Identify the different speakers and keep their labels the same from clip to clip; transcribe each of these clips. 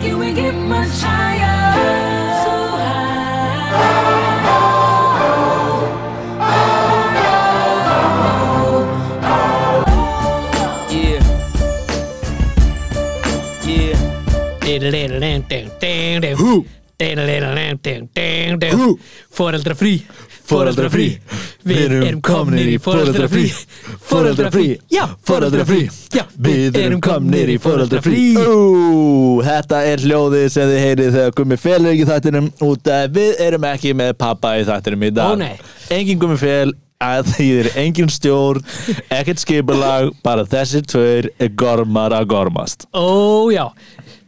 Speaker 1: Can we get much higher? So high.
Speaker 2: Yeah. Yeah.
Speaker 3: Hú. Hú.
Speaker 2: Fóreldra frí
Speaker 3: Foreldra frí
Speaker 2: Við erum komnir í foreldra frí Foreldra frí
Speaker 3: Já, foreldra frí
Speaker 2: Já,
Speaker 3: Við erum komnir í foreldra frí Ú, þetta er hljóðið sem þið heyrið þegar Gummi Fel er ekki í þættinum út að við erum ekki með pappa í þættinum í
Speaker 2: Ó,
Speaker 3: dag
Speaker 2: nei.
Speaker 3: Engin Gummi Fel að því þeir engin stjórn, ekkert skipulag bara þessir tveir er gormar að gormast
Speaker 2: Ó já,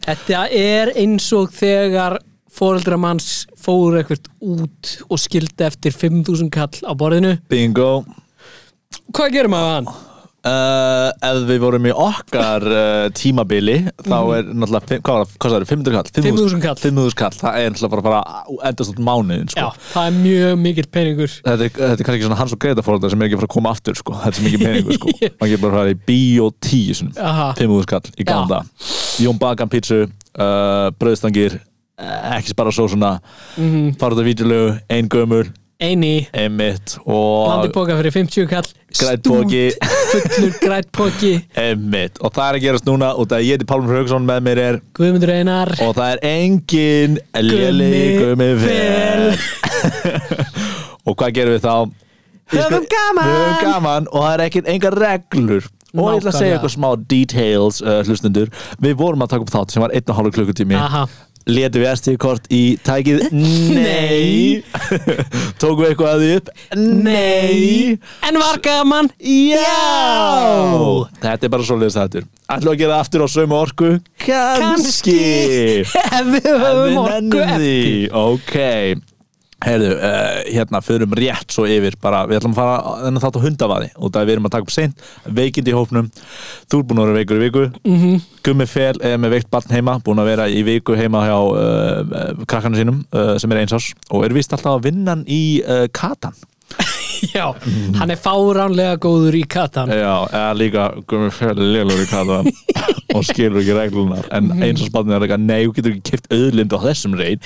Speaker 2: þetta er eins og þegar fóreldra manns fóru ekkert út og skildi eftir 5000 kall á borðinu
Speaker 3: Bingo
Speaker 2: Hvað gerir maður hann?
Speaker 3: Uh, ef við vorum í okkar uh, tímabili þá er náttúrulega fimm- hvað var það, hvað sagði, 500 kall
Speaker 2: 5.000 Mhm. kall.
Speaker 3: 5.000 kall, það er náttúrulega bara, bara endast út mánuðin sko.
Speaker 2: Já, það er mjög mikill peningur
Speaker 3: þetta, er- þetta er kannski svona hans og Greta fórhaldar sem er ekki að fara að koma aftur sko. þetta er sem ekki peningur sko. maður getur bara að fara í bíó tíu
Speaker 2: Aha.
Speaker 3: fimmuðu skall í
Speaker 2: Já.
Speaker 3: ganda Jón Bakan pítsu, uh, bröðstangir uh, ekki spara svo svona
Speaker 2: Mhm.
Speaker 3: mm. fara út af vídjulegu, ein gömur
Speaker 2: Eini,
Speaker 3: einmitt og
Speaker 2: landi bóka fyrir 50 kall
Speaker 3: Grænn
Speaker 2: stút,
Speaker 3: poki.
Speaker 2: Fullur grætt póki
Speaker 3: einmitt og það er að gerast núna út af að ég heiti Pálmur Haugsson með mér er
Speaker 2: Guðmundur Einar
Speaker 3: og það er engin léli gummi vel og hvað gerum við þá? Ég
Speaker 2: Höfum
Speaker 3: skal-
Speaker 2: gaman!
Speaker 3: Höfum gaman og það er ekkert engar reglur og ég ætla að segja
Speaker 2: Nákvæmlega.
Speaker 3: eitthvað smá details uh, hlustundur, við vorum að taka upp þátt sem var einn og halvur klukkutími
Speaker 2: Aha.
Speaker 3: letum við SD-kort í tækið nei tókum við eitthvað að því upp nei
Speaker 2: En var gaman
Speaker 3: Já! Þetta er bara svoleiðis þættur. Ætlum við að gera aftur á sömu orku? Kanski!
Speaker 2: Ef við höfum orku eftir
Speaker 3: Ok. Heyrðu, uh, hérna, förum rétt svo yfir bara, við ætlum að fara þennan þátt á hundavaði út að við erum að taka upp seint, veikind í hópnum þú er búin að vera veikur í viku mm
Speaker 2: Mhm.
Speaker 3: -hmm. Gummi Fel er með veikt barn heima búin að vera í viku heima hjá uh, krakkanu sínum uh, sem er einsás og er vist alltaf að vinna hann í uh, katan
Speaker 2: Já, hann er fáránlega góður í katan
Speaker 3: Já, eða líka Gummi Fjöldi lélur í kataðan og skilur ekki reglunar en eins og spannir er eitthvað, nei, þú getur ekki kipt auðlind á þessum reit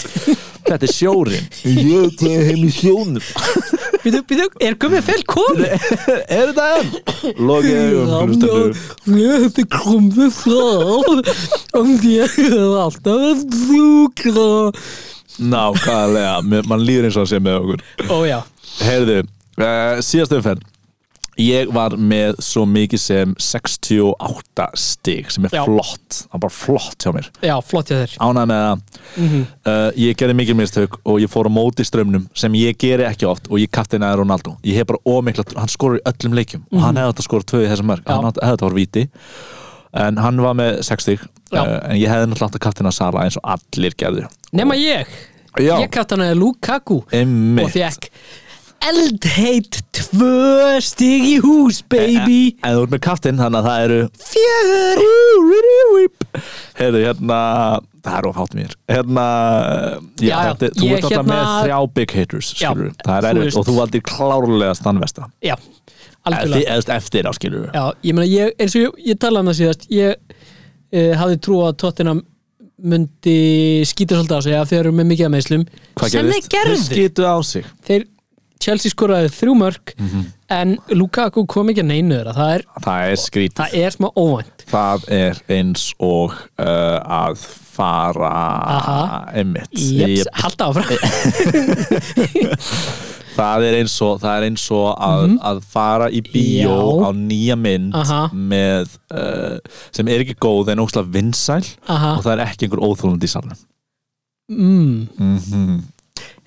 Speaker 3: Þetta er sjórin Ég tegði heim í sjónum
Speaker 2: Býtu, býtu, er gummið fel komið?
Speaker 3: Er þetta enn? Lokið augum, hlustendur
Speaker 2: Þetta komið frá og ég er alltaf að þúkra
Speaker 3: Nákvæmlega, mér- mann líður eins og að sé með okkur
Speaker 2: Ó já,
Speaker 3: Heyrðu, uh, síðast umferð Ég var með svo mikið sem 68 stig sem er
Speaker 2: Já.
Speaker 3: flott, það er bara flott hjá mér
Speaker 2: já, flott hjá þér
Speaker 3: ánægð með það
Speaker 2: Mhm.
Speaker 3: uh, ég gerði mikil mistök og ég fór á móti strömmnum sem ég geri ekki oft og ég kapti næður Ronaldo ég hef bara ómikla, hann skorur í öllum leikjum og hann hefði þetta skorur tvö í þessum mörg
Speaker 2: Mhm. Já.
Speaker 3: hann átti- hefði þetta voru víti en hann var með 60
Speaker 2: Já.
Speaker 3: uh, en ég hefði náttúrulega átt að kapti Sala eins og allir gerðu
Speaker 2: Nema ég,
Speaker 3: Já.
Speaker 2: ég kallt hann að Lukaku og
Speaker 3: Einmitt.
Speaker 2: fekk eldheit tvö stig í hús, baby
Speaker 3: En, en Eh, þú ert með kaptinn, þannig að það eru
Speaker 2: Fjögur
Speaker 3: Heyrðu, hérna Það er ofhátt mér Hérna, já,
Speaker 2: Já, já,
Speaker 3: þetta, þú
Speaker 2: ég
Speaker 3: ert alltaf
Speaker 2: hérna-
Speaker 3: með þrjá big hitters
Speaker 2: Já,
Speaker 3: skilurðu. Það
Speaker 2: þú
Speaker 3: er erfitt
Speaker 2: veist.
Speaker 3: og þú valdir klárlega stannvesta
Speaker 2: Já, algjörlega
Speaker 3: Eftir, eftir, eftir á skilur
Speaker 2: Já, ég meina, ég, eins og ég, ég talaði um það síðast ég eh, hafði trú að Tottenham myndi skýta svolítið á sig af þeir eru með mikið að meðslum
Speaker 3: Hvað
Speaker 2: sem
Speaker 3: gerðist?
Speaker 2: þeir gerðu
Speaker 3: skitu á sig
Speaker 2: þeir, Chelsea skoraði þrjú mörg en Lukaku kom ekki að neinu þeirra það er,
Speaker 3: Það er skrítið
Speaker 2: það er smá óvænt
Speaker 3: Það er eins og uh, að fara
Speaker 2: Aha.
Speaker 3: einmitt
Speaker 2: Jeps,
Speaker 3: Ég-
Speaker 2: halda áfram
Speaker 3: það, er eins og, það er eins og að, að fara í bíó
Speaker 2: Mhm. Já.
Speaker 3: á nýja mynd
Speaker 2: Aha.
Speaker 3: með, uh, sem er ekki góð en ósla vinsæl
Speaker 2: Aha.
Speaker 3: og það er ekki einhver óþólandi í salnum
Speaker 2: mm,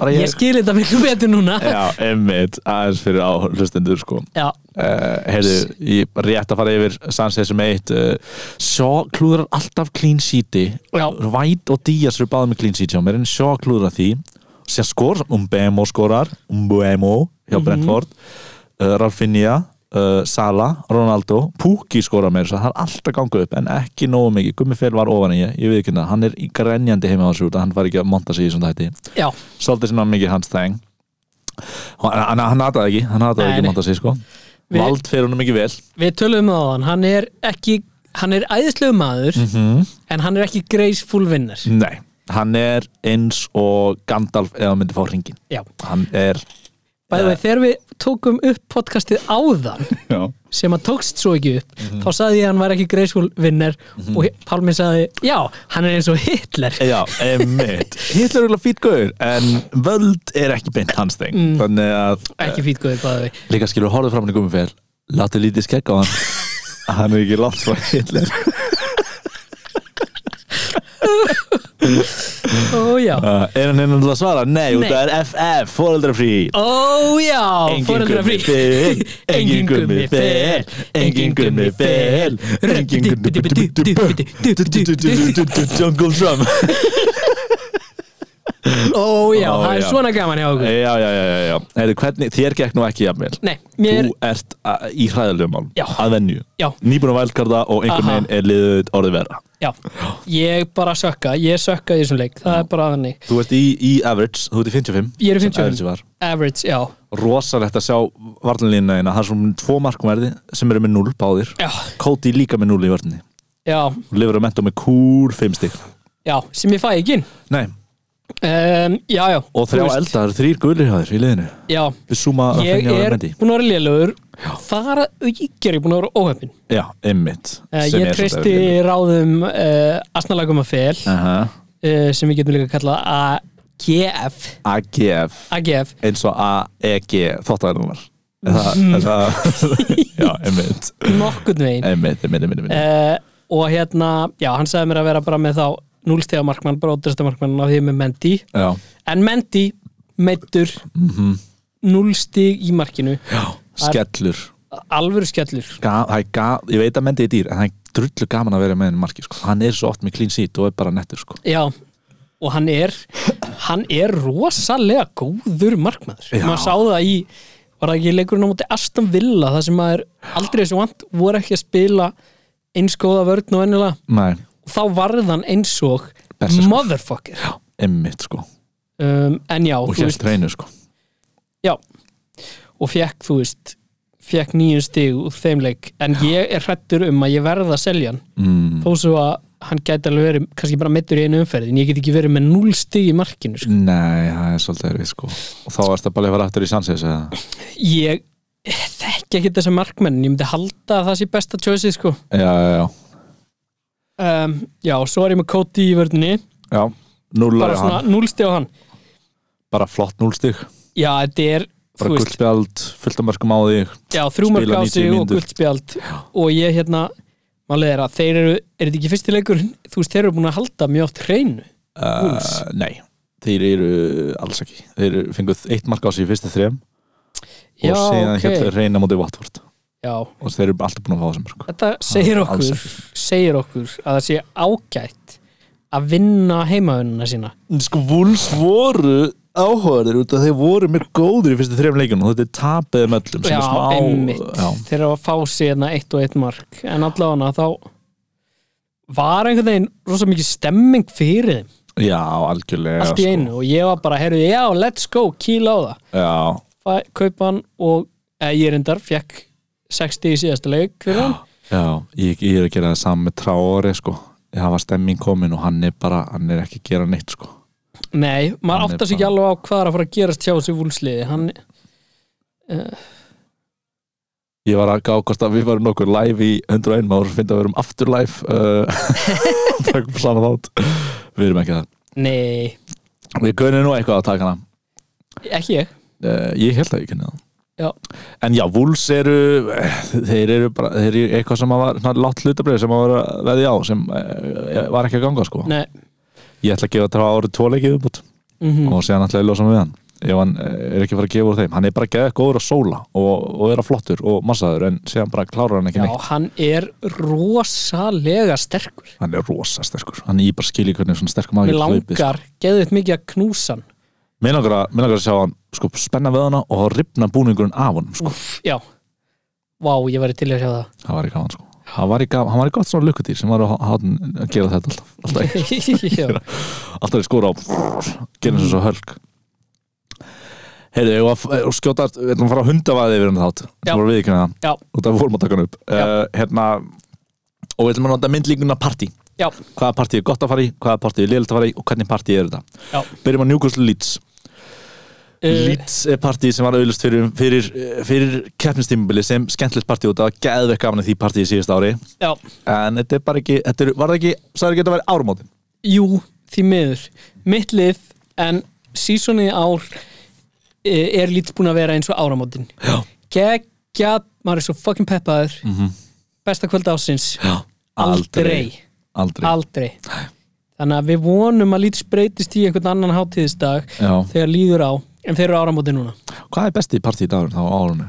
Speaker 3: Bara
Speaker 2: Ég sko- skil þetta miklu betur núna
Speaker 3: Já, einmitt, aðeins fyrir á hlustendur sko
Speaker 2: Já,
Speaker 3: Uh, heyrðu, ég er rétt að fara yfir Sanchez sem eitt uh, Sjó klúðrar alltaf clean sheeti
Speaker 2: Já.
Speaker 3: White og Díaz eru báðið með clean sheet hjá mér en Sjó klúðrar því Sér skor, Mbemo skorar Mbemo hjá Brentford uh, Ralfinha, uh, Sala Ronaldo, Puki skorar mér svo það er alltaf gangu upp en ekki nógu mikið Gummifel var ofan í ég, ég veit ekki hérna hann er í grenjandi heima á þessu út að hann var ekki að monta sig í svona þætti
Speaker 2: já,
Speaker 3: svolítið svona mikið hans þeng hann, hann- hann hataði ekki hann hataði
Speaker 2: Nei,
Speaker 3: ekki
Speaker 2: nei.
Speaker 3: monta sig sko
Speaker 2: Við-
Speaker 3: vald fer honum ekki vel
Speaker 2: við töluðum það á hann hann er ekki hann er æðislegu maður
Speaker 3: Mhm.
Speaker 2: en hann er ekki graceful vinnar
Speaker 3: Nei, hann er eins og Gandalf eða myndi fá hringin
Speaker 2: já,
Speaker 3: Hann er
Speaker 2: bæði vei, þegar við tókum upp podcastið áðan
Speaker 3: Já,
Speaker 2: sem að tókst svo ekki upp
Speaker 3: Mhm.
Speaker 2: þá sagði ég að hann var ekki graceful vinnar og Pálmi sagði, já, hann er eins og Hitler
Speaker 3: já einmitt Hitler er eiginlega fýt gauður En völd er ekki beint hans þeng
Speaker 2: Mm.
Speaker 3: Þannig að
Speaker 2: ekki fítgóður bæði vei
Speaker 3: Líka skilur horfðu fram hann í gummifél Láttu lítið skegg á hann Hann er ekki látt frá Hitler
Speaker 2: ó já,
Speaker 3: uh, Er hann einnig að svara? Nei,
Speaker 2: Nei.
Speaker 3: út af FF, foreldrafrí
Speaker 2: ó já
Speaker 3: Engin
Speaker 2: foreldrar
Speaker 3: gummi
Speaker 2: frí.
Speaker 3: fel, engin gummi fel, engin gummi fel, engin gummi fel Jungle Drum
Speaker 2: ó já,
Speaker 3: Ó,
Speaker 2: það er
Speaker 3: já.
Speaker 2: svona gaman hjá okkur
Speaker 3: Já, já, já, já, já. Heyrðu, hvernig, þér gekk nú ekki jafnvel
Speaker 2: nei, mér,
Speaker 3: Þú ert að, í hræðalegum málum
Speaker 2: Já.
Speaker 3: Að venju
Speaker 2: Já.
Speaker 3: Nýbúin að vælkarta og einhvern
Speaker 2: Aha.
Speaker 3: veginn er liðið orðið vera
Speaker 2: já ég bara sökka, ég sökka í þessum leik það er bara þannig,
Speaker 3: Þú ert í, í average, þú ert í 55
Speaker 2: Ég er í
Speaker 3: sem
Speaker 2: 55.
Speaker 3: average var.
Speaker 2: average, já
Speaker 3: Rosalegt að sjá varnalínuna eina Hann er svona tvo markverði sem eru með 0 báðir
Speaker 2: já,
Speaker 3: Cody líka með 0 í vörninni
Speaker 2: já,
Speaker 3: Lifur að menta með kúr 5 stík
Speaker 2: já sem ég fæ ekki inn.
Speaker 3: Nei,
Speaker 2: um, já, já
Speaker 3: og
Speaker 2: þú
Speaker 3: þrjá
Speaker 2: veist,
Speaker 3: elda, það eru þrýr gulir hjá þér í liðinu
Speaker 2: já,
Speaker 3: Við súma að
Speaker 2: ég
Speaker 3: fengja að
Speaker 2: er
Speaker 3: mendi
Speaker 2: búin að vera lélugur þar að auki er ég búin að vera óhefn
Speaker 3: Já, einmitt
Speaker 2: uh, ég
Speaker 3: sem er svolítið
Speaker 2: treysti
Speaker 3: erfitt.
Speaker 2: ráðum uh, asnalagum að fel
Speaker 3: Aha.
Speaker 2: uh, sem við getum líka að kalla AGF
Speaker 3: AGF
Speaker 2: AGF
Speaker 3: eins og E AEG þóttaðarinnar
Speaker 2: Mm.
Speaker 3: Já, einmitt
Speaker 2: nokkurn veginn
Speaker 3: Einmitt, einmitt, einmitt, einmitt.
Speaker 2: uh, og hérna, já, hann sagði mér að vera bara með þá núlstega markmann, bara ótrasta markmann á því með Mendy,
Speaker 3: Já,
Speaker 2: en Mendy meittur mm
Speaker 3: Mhm.
Speaker 2: núlstig í markinu,
Speaker 3: skellur
Speaker 2: alvöru skellur
Speaker 3: ga, það er ga, Ég veit að mendi er dýr en það er drullu gaman að vera með henni marki sko. Hann er svo oft með clean seat og er bara nettur sko.
Speaker 2: já, og hann er hann er rosalega góður markmaður,
Speaker 3: Já.
Speaker 2: maður sá það í var það ekki leikurinn á móti Aston Villa það sem maður aldrei þessu vant voru ekki að spila eins góða vörn og ennilega
Speaker 3: Nei,
Speaker 2: og þá varð hann eins og
Speaker 3: Berserkur.
Speaker 2: motherfucker
Speaker 3: einmitt sko.
Speaker 2: um, en já,
Speaker 3: og
Speaker 2: þú veist
Speaker 3: hérst reynu sko.
Speaker 2: já, og fekk þú veist fekk nýjum stig úr þeim leik en ég er hrættur um að ég verða að selja hann
Speaker 3: mm,
Speaker 2: þó svo að hann gæti alveg verið kannski bara meittur í einu umferð en ég get ekki verið með núl stig í markinu sko.
Speaker 3: Nei, það er svolítið erfið sko. og þá erst það bara að fara aftur í sannsins eða?
Speaker 2: ég þekki ekki þessa markmenn ég myndi halda að það sé besta choice sko.
Speaker 3: Já, já, já,
Speaker 2: um, já, svo er ég með Cody í vörðinni
Speaker 3: já. Núlar
Speaker 2: bara
Speaker 3: hann,
Speaker 2: svona núl stig á hann
Speaker 3: bara flott núlstig
Speaker 2: já, þetta er þú
Speaker 3: bara
Speaker 2: veist,
Speaker 3: gullspjald, fullt af mörgum á þig
Speaker 2: Já, þrjúmark
Speaker 3: Spila
Speaker 2: á
Speaker 3: 90
Speaker 2: sig og
Speaker 3: mínútur.
Speaker 2: guldspjald og ég hérna, málið er að þeir eru er þetta ekki fyrsti leikur, þú veist, þeir eru búin að halda mjög oft hreinu
Speaker 3: uh,
Speaker 2: Wolves.
Speaker 3: Nei, þeir eru alls ekki Þeir eru- fenguð eitt mark á sig í fyrstu þrem
Speaker 2: Já,
Speaker 3: og síðan
Speaker 2: ok.
Speaker 3: okay. hérna reyna mótið Watford
Speaker 2: Já,
Speaker 3: og þeir eru alltaf búin að fá þessum mörg
Speaker 2: þetta segir
Speaker 3: alls
Speaker 2: okkur segir okkur að það sé ágætt að vinna heimaununa sína
Speaker 3: Sko, Wolves voru áhugaður út af þeir voru mjög góður í fyrstu þrem leikjum og þetta er tapið um öllum sem
Speaker 2: Já,
Speaker 3: er smá,
Speaker 2: einmitt
Speaker 3: Já,
Speaker 2: þeir eru að fá sig hérna eitt og eitt mark en allavega þá var einhvern veginn rosa mikið stemming fyrir þeim,
Speaker 3: já, algjörlega
Speaker 2: allt í
Speaker 3: sko.
Speaker 2: einu og ég var bara, heyrðu, já, let's go, kýla á það
Speaker 3: Já,
Speaker 2: fæ- kaupa hann og eða, ég reyndar fekk 60 í síðasta leik fyrir hann
Speaker 3: já, ég, ég er að gera það saman með Traore sko. það var stemming komin og hann er bara hann er ekki að gera neitt sko.
Speaker 2: Nei, maður
Speaker 3: Hann er
Speaker 2: áttar sig ekki alveg á hvað er að fara að gerast hjá þessu vúlsliði hann,
Speaker 3: Ég var að gá hvort að við varum nokkur live í 101 maður og finna að við erum aftur live uh, takum saman þátt Við erum ekki það
Speaker 2: Nei,
Speaker 3: Við kunum nú eitthvað að taka hana
Speaker 2: ekki ég
Speaker 3: uh, Ég held að ég kunni það
Speaker 2: Já,
Speaker 3: En já, Wolves eru eh, þeir eru bara, þeir eru eitthvað sem að var svona látt hlutabrið sem að var að veðja á sem uh, var ekki að ganga sko
Speaker 2: nei
Speaker 3: Ég ætla að gefa það árið tvo leikið upp út
Speaker 2: mm
Speaker 3: og segja náttúrulega losa mig við hann ef hann eh, er ekki að fara að gefa úr þeim hann er bara geðið góður að sóla og, og er að flottur og massaður en síðan bara klárar hann ekki
Speaker 2: Já,
Speaker 3: neitt
Speaker 2: hann er rosalega sterkur
Speaker 3: hann er rosa sterkur hann er bara skilji hvernig svona sterkur
Speaker 2: Mér
Speaker 3: maður getur hlaupið, sko.
Speaker 2: langar, geðið mikið að knúsa hann
Speaker 3: Mér langar, að, mér langar að sjá hann sko, spenna við hana og ripna búningurinn af hann sko.
Speaker 2: Úff, já Vá, ég væri til að sjá það
Speaker 3: það var í gaman sko. hann, var í gaman, hann var í gott svona lukkutýr sem var að, að, að gera þetta alltaf alltaf, í-
Speaker 2: Já,
Speaker 3: alltaf í skóra og gera þessu svo hölk heyrðu, og, og skjóta við ætlum að fara að hundavaði yfir hann þátt
Speaker 2: Já.
Speaker 3: sem voru við ekki með það
Speaker 2: já,
Speaker 3: Eh, og það vorum að taka hann upp uh, hérna, og við ætlum að nota myndlíkuna partí
Speaker 2: já,
Speaker 3: hvaða partí er gott að fara í, hvaða partí er liðlegt að fara í og hvernig partí er þetta
Speaker 2: já
Speaker 3: byrjum á Newcastle Leeds
Speaker 2: Eh,
Speaker 3: Leeds er partí sem var auðlust fyrir, fyrir, fyrir keppnistímubili sem skemmtilegt partí og það var geðvekk gaman í því partí í síðust ári
Speaker 2: Já,
Speaker 3: en þetta er bara ekki, þetta er, var það ekki sagði ekki að þetta væri árumótin
Speaker 2: jú, því miður Mitt lið, en sísonið í ár eh, er lítið búin að vera eins og áramótin
Speaker 3: já,
Speaker 2: Gekja, maður er svo fucking peppaður Besta kvöld ásins
Speaker 3: já,
Speaker 2: Aldrei,
Speaker 3: Mhm. aldrei,
Speaker 2: aldrei Þannig að við vonum að lítið breytist í einhvern annan hátíðisdag
Speaker 3: já,
Speaker 2: þegar líður á, en þeir eru áramóti núna
Speaker 3: hvað er besti partí í dagurinn þá á árunni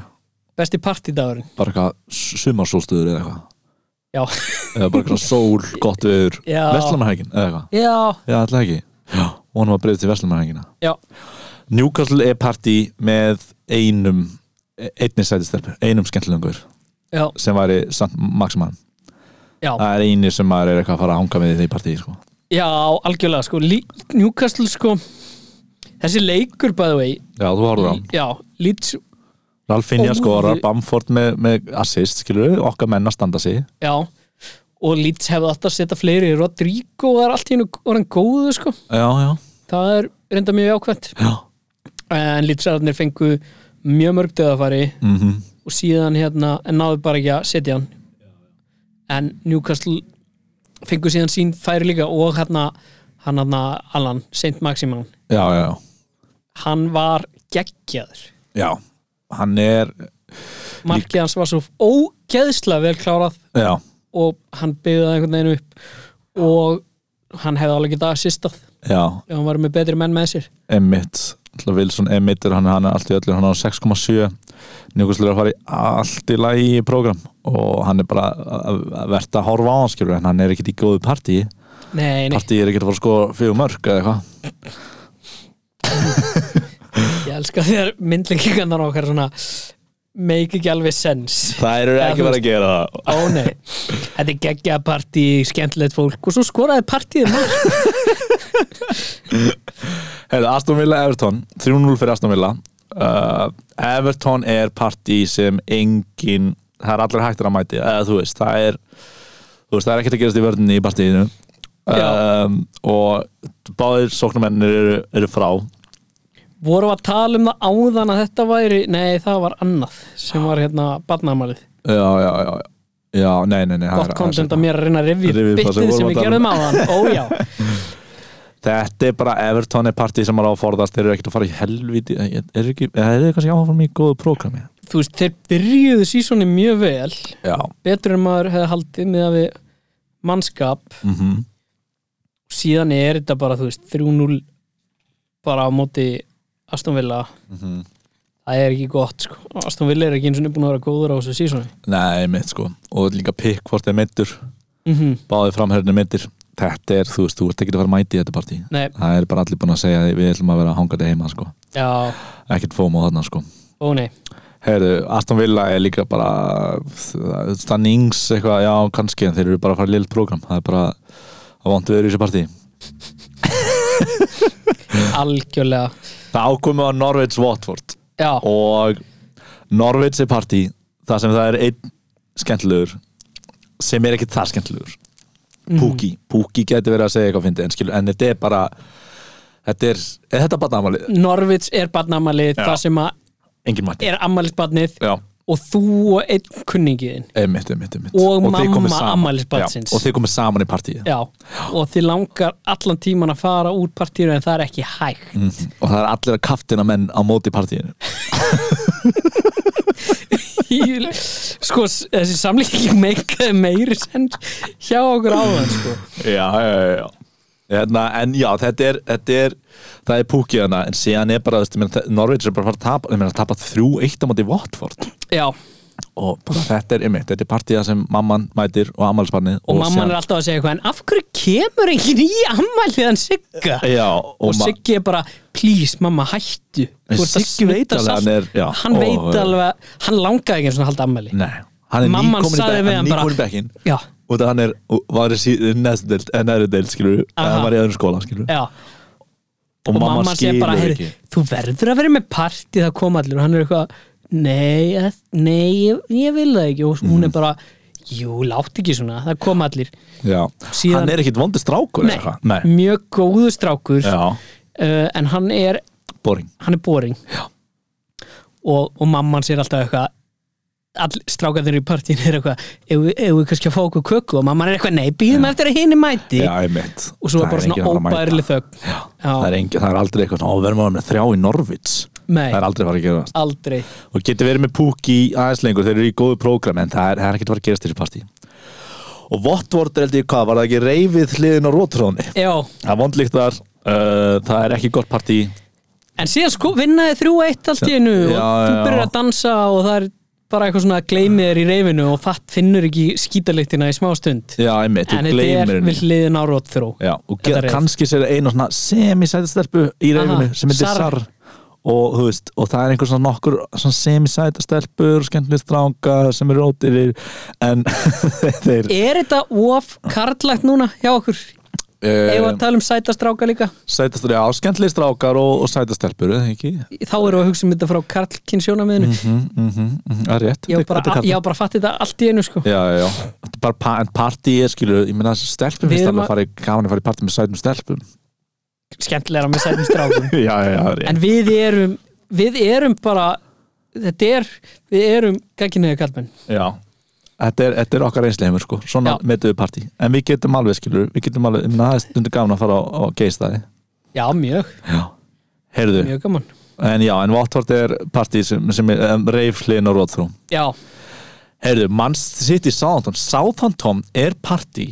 Speaker 2: Besti partidagurinn,
Speaker 3: bara eitthvað sumarsólstöður eða eitthvað
Speaker 2: já
Speaker 3: eða bara eitthvað sól, gott viður
Speaker 2: Já.
Speaker 3: Vestlumarhækin eða eitthvað
Speaker 2: Já,
Speaker 3: Já, alltaf ekki. Já, vonum að breyða til Vestlumarhængina.
Speaker 2: já,
Speaker 3: Newcastle er partí með einum, einni sætistelpu, einum skemmtilegur
Speaker 2: já,
Speaker 3: sem væri samt maksimann.
Speaker 2: já
Speaker 3: Það er eini sem maður er eitthvað að fara að hanga með í því partí, sko.
Speaker 2: Já, algjörlega, sko, Lí- Newcastle, sko Þessi leikur, by the way
Speaker 3: Já, þú horfður á hann.
Speaker 2: Já, Leeds,
Speaker 3: Ralf Finja
Speaker 2: Ó,
Speaker 3: skorar,
Speaker 2: ég-
Speaker 3: Bamford með, með assist, skilur við, okkar menn að standa sig.
Speaker 2: já Og Leeds hefði alltaf að setja fleiri Rodrigo er allt í hennu orðan góðu, sko
Speaker 3: Já, já,
Speaker 2: Það er reynda mjög jákvæmt
Speaker 3: já.
Speaker 2: En Leedsararnir fengu mjög mörg döðafæri
Speaker 3: Mm
Speaker 2: Og síðan hérna, en náðu bara ekki að setja hann En Newcastle fengu síðan sín færi líka Og hérna, hann hérna, Allan, Saint Maximan
Speaker 3: Já, já, já.
Speaker 2: Hann var geggjaður
Speaker 3: Já, hann er,
Speaker 2: markið hans var svo ógeðslega vel klárað
Speaker 3: já,
Speaker 2: og hann byggði einhvern veginn upp og hann hefði alveg getað assistað
Speaker 3: já,
Speaker 2: ef hann var með betri menn með sér
Speaker 3: Emmitt Alltaf Wilson Emmitt er hann, hann er allt í öllu hann er á 6,7 Newcastle er að fara í allt í lagi í program og hann er bara verðt að horfa á hann skilur en hann er ekkit í góðu partí
Speaker 2: Nei, nei,
Speaker 3: partí er ekkit að fara að sko fjögur mörg eða eitthvað
Speaker 2: ég elska þegar myndlengingarnar okkar svona make ekki alveg sense
Speaker 3: Það eru
Speaker 2: Já, þú
Speaker 3: ekki verið að gera það
Speaker 2: Ó nei, þetta er geggja partí skemmtilegt fólk og svo skoraði partíð mark
Speaker 3: Hefðu, Aston Villa Everton 3-0 fyrir Aston Villa uh, Everton er partí sem engin, það er allir hættur að mæti eða þú veist, það er þú veist, það er ekkert að gerast í vörðinni í partíinu
Speaker 2: Já.
Speaker 3: um, og báðir sóknarmennir eru, eru frá
Speaker 2: voru að tala um það áðan að þetta væri nei, það var annað sem var hérna barnamalið,
Speaker 3: já, já, já, já, nei, nei, nei það
Speaker 2: gott
Speaker 3: er-
Speaker 2: content
Speaker 3: það
Speaker 2: að
Speaker 3: er-
Speaker 2: mér að reyna að revja
Speaker 3: Rifja upp það sem
Speaker 2: byttið
Speaker 3: vorum
Speaker 2: sem
Speaker 3: að
Speaker 2: við
Speaker 3: tala um.
Speaker 2: gerðum áðan, ójá
Speaker 3: þetta er bara Everton er partí sem maður á að forðast þeir eru ekkert að fara í helviti er ekki, er þeir kannski áfram í góðu prógrami
Speaker 2: þú veist, þeir byrjuðu sísoni mjög vel
Speaker 3: já,
Speaker 2: betur en maður hefði haldið með að við mannskap
Speaker 3: mhm
Speaker 2: síðan er þetta bara, þú veist, 3-0 bara á móti Aston Villa
Speaker 3: Mhm.
Speaker 2: það er ekki gott, sko, Aston Villa er ekki eins og búin að vera góður á þessu sísoni
Speaker 3: nei, mitt sko og líka pikkvort er meittur
Speaker 2: mm
Speaker 3: báði framherðinu myndir þetta er, þú veist, þú ert ekki að fara að mæti í þetta partí
Speaker 2: Nei,
Speaker 3: það er bara allir búin að segja að við ætlum að vera hangandi heima sko.
Speaker 2: já,
Speaker 3: ekkert fóm á þarna sko.
Speaker 2: ó nei
Speaker 3: Heyrðu, Aston Villa er líka bara stannings eitthvað, já, kannski en þeir eru bara að fara lill program það er bara að vondu verið í þessu partí
Speaker 2: algjörlega,
Speaker 3: það ákomi á Norveits Watford
Speaker 2: já,
Speaker 3: og Norveits er partí þar sem það er einn skemmtilegur sem er ekki það skemmtilegur
Speaker 2: Mhm.
Speaker 3: Púki, Púki gæti verið að segja eitthvað fyndi, en, skilu, en þetta er bara þetta er, er þetta bara amalið
Speaker 2: Norvits er barnamalið
Speaker 3: Já.
Speaker 2: það sem að
Speaker 3: engin mæti
Speaker 2: er ammælisbarnið
Speaker 3: já,
Speaker 2: og þú og einn kunningiðin
Speaker 3: einmitt, einmitt, einmitt.
Speaker 2: Og
Speaker 3: þið
Speaker 2: mamma
Speaker 3: komið saman.
Speaker 2: afmælisbarnsins.
Speaker 3: Já, og þið komið saman í partíið
Speaker 2: já, og þið langar allan tíman að fara úr partíru en það er ekki hægt
Speaker 3: Mhm. og það er allir að kaftina menn á móti partíinu
Speaker 2: Í- sko, s- þessi samlíking meikaði meiri send hjá okkur áðan sko.
Speaker 3: já, já, já, já. Hérna, en já, þetta er, þetta er það er púkið hana, en síðan er bara þú veist, Norveits er bara að fara að tapa, ég meina, að tapa þrjú eitt á móti Watford
Speaker 2: já,
Speaker 3: og bara þetta er einmitt, þetta er partíða sem mamman mætir og amalsbarnið
Speaker 2: og mamman er alltaf að segja eitthvað en af hverju kemur enginn í ammæliðan Sigga
Speaker 3: já, Eh, og,
Speaker 2: og
Speaker 3: ma-
Speaker 2: Siggi er bara, please mamma hættu
Speaker 3: En
Speaker 2: Þú ert að
Speaker 3: Siggi veit
Speaker 2: snudda
Speaker 3: alveg að
Speaker 2: salt."
Speaker 3: hann er- já, eh,
Speaker 2: hann
Speaker 3: ó,
Speaker 2: veit
Speaker 3: já.
Speaker 2: alveg, hann langaði ekki einu sinni að halda ammæli
Speaker 3: Nei, hann er
Speaker 2: Mamman
Speaker 3: nýkomin í
Speaker 2: sagði
Speaker 3: bekk-
Speaker 2: við
Speaker 3: hann
Speaker 2: hann
Speaker 3: er
Speaker 2: bara-
Speaker 3: nýkomin í bekkin
Speaker 2: já,
Speaker 3: og það hann er, og var í neðstu deild, eh, neðri deild skilur við,
Speaker 2: Aha.
Speaker 3: hann var í öðrum skóla skilur við
Speaker 2: já
Speaker 3: og,
Speaker 2: og
Speaker 3: mamma
Speaker 2: mamma segir
Speaker 3: skilur
Speaker 2: bara,
Speaker 3: ekki
Speaker 2: heyrðu, þú verður að vera með partí
Speaker 3: Mhm.
Speaker 2: það kom allir og hann er eitthvað nei, eh, nei ég, ég vil það ekki og hún er bara Jú, látt ekki svona, það kom allir
Speaker 3: Já,
Speaker 2: Síðan-
Speaker 3: hann er ekkit vondi strákur eða eitthvað. Nei,
Speaker 2: mjög góðu strákur uh,
Speaker 3: já,
Speaker 2: en hann er,
Speaker 3: boring
Speaker 2: hann er boring
Speaker 3: Já.
Speaker 2: og, og mamman sér alltaf eitthvað all strákarnir í partíin er eitthvað ef við, ef við kannski að fá okkur köku og mamman er eitthvað nei, býðum eftir að hinni mæti
Speaker 3: Já, einmitt
Speaker 2: og svo er bara svona
Speaker 3: Það er enginn að fara að mæta.
Speaker 2: óbærileg þögn
Speaker 3: Já,
Speaker 2: Já.
Speaker 3: það er, engin, það er aldrei eitthvað svona, ó, verðum að vera með þrjá í Norvits
Speaker 2: Nei.
Speaker 3: Það er aldrei að fara að gerast
Speaker 2: aldrei
Speaker 3: Og getur verið með púk í aðeins lengur, þeir eru í góðu prógram En það er, það er ekkert að fara að gerast í þessu partí Og Votvort er held ég hvað, var það ekki reyfið hliðin á rótróni
Speaker 2: Já,
Speaker 3: Það er vondlíkt þar, uh, það er ekki gott partí
Speaker 2: en síðan sko vinnaði þrjú eitt allt í einu
Speaker 3: Já,
Speaker 2: og þú
Speaker 3: já.
Speaker 2: byrjar að dansa og það er bara eitthvað svona gleymið er í reyfinu og fatt finnur ekki skítaliktina í smá stund
Speaker 3: Já, einmitt,
Speaker 2: en
Speaker 3: þú
Speaker 2: þetta
Speaker 3: gleymir
Speaker 2: er
Speaker 3: henni
Speaker 2: við hliðin á rót þró
Speaker 3: Já, og
Speaker 2: Þetta
Speaker 3: get,
Speaker 2: reif.
Speaker 3: kannski sér einu svona semisætastelpu í reyfinu sem heitir
Speaker 2: Sar.
Speaker 3: Sar og, þú veist, og það er einhver svona nokkur svona semisætastelpur, skemmtileg stráka sem eru ódýrir en þeir
Speaker 2: Er þetta of karlægt núna hjá okkur?
Speaker 3: Eh.
Speaker 2: Eða að
Speaker 3: uh,
Speaker 2: tala um sætastráka líka?
Speaker 3: sætastur, já, skemmtileg strákar og, og sætastelpur, eða ekki?
Speaker 2: Þá erum við að hugsa um þetta frá karlkinsjónamiðinu mm,
Speaker 3: Mm, mm, mm, mm, það er rétt
Speaker 2: Ég á
Speaker 3: Þetta er Eh.
Speaker 2: bara,
Speaker 3: kallað.
Speaker 2: ég á bara að fatta þetta allt í einu sko
Speaker 3: Já, já, já, Þetta er bara pa en partí er skilu, ég meina stelpum
Speaker 2: Við
Speaker 3: finnst
Speaker 2: erum
Speaker 3: alveg
Speaker 2: að-
Speaker 3: að fara í gaman að fara í partí með sætum stelpum
Speaker 2: Skemmtilega með sætum strákum
Speaker 3: Já, já, já, það er rétt
Speaker 2: En við erum, við erum bara Þetta er, við erum gagginniðu kallmenn
Speaker 3: Já Þetta er, þetta er okkar einsleimur sko, svona
Speaker 2: Já.
Speaker 3: metum við partí en við getum alveg skilur, við getum alveg ég meina, það er stundu gaman að fara á, á geistæði
Speaker 2: Já, mjög,
Speaker 3: Heyrðu,
Speaker 2: mjög gaman
Speaker 3: en já, en Votvort er partí sem, sem er um, reiflin og rótþrú
Speaker 2: Já,
Speaker 3: Heyrðu, mann sitt í Southampton Southampton er partí